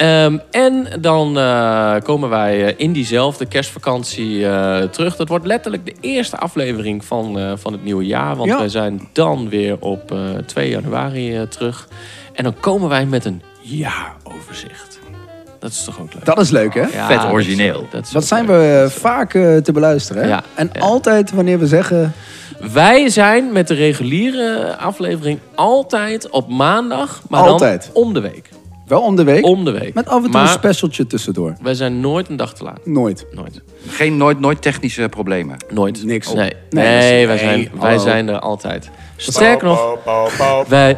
[SPEAKER 3] Ehm, en dan eh, komen wij eh, in diezelfde kerstvakantie eh, terug. Dat wordt letterlijk de eerste aflevering van, eh, van het nieuwe jaar. Want
[SPEAKER 4] Ja.
[SPEAKER 3] wij zijn dan weer op eh, 2 januari eh, terug. En dan komen wij met een jaaroverzicht. Dat is toch ook leuk?
[SPEAKER 4] Dat is leuk, hè?
[SPEAKER 3] Ja,
[SPEAKER 5] vet
[SPEAKER 3] dat is-
[SPEAKER 5] origineel.
[SPEAKER 3] Dat, is
[SPEAKER 4] Dat
[SPEAKER 3] ook
[SPEAKER 4] zijn
[SPEAKER 3] leuk.
[SPEAKER 4] we vaak eh, te beluisteren, hè?
[SPEAKER 3] Ja.
[SPEAKER 4] En
[SPEAKER 3] Ja.
[SPEAKER 4] altijd wanneer we zeggen...
[SPEAKER 3] Wij zijn met de reguliere aflevering altijd op maandag. Maar
[SPEAKER 4] Altijd.
[SPEAKER 3] dan om de week.
[SPEAKER 4] Wel om de week.
[SPEAKER 3] Om de week.
[SPEAKER 4] Met af en toe
[SPEAKER 3] Maar
[SPEAKER 4] een specialtje tussendoor.
[SPEAKER 3] Wij zijn nooit een dag te laat.
[SPEAKER 4] Nooit.
[SPEAKER 3] Nooit.
[SPEAKER 5] Geen nooit, nooit technische problemen.
[SPEAKER 3] Nooit.
[SPEAKER 4] Niks.
[SPEAKER 3] Nee, nee,
[SPEAKER 4] Nee,
[SPEAKER 3] wij, zijn, wij
[SPEAKER 4] hallo.
[SPEAKER 3] zijn er altijd. Sterker nog,
[SPEAKER 2] nog.
[SPEAKER 3] wij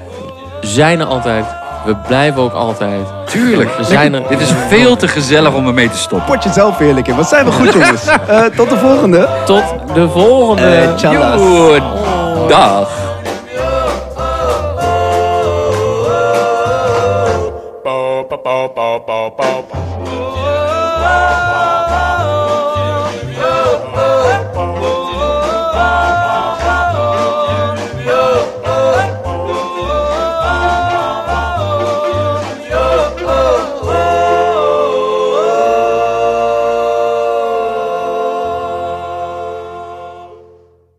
[SPEAKER 3] zijn er altijd. We blijven ook altijd.
[SPEAKER 5] Tuurlijk.
[SPEAKER 3] We zijn er.
[SPEAKER 5] Dit is veel te gezellig om ermee te stoppen.
[SPEAKER 4] Potje zelf heerlijk in. Wat zijn we goed, jongens. Eh, tot de volgende.
[SPEAKER 3] Tot de volgende.
[SPEAKER 4] Eh, tjallas.
[SPEAKER 5] Dag.
[SPEAKER 2] Bow, bow, bow, bow, bow, bow.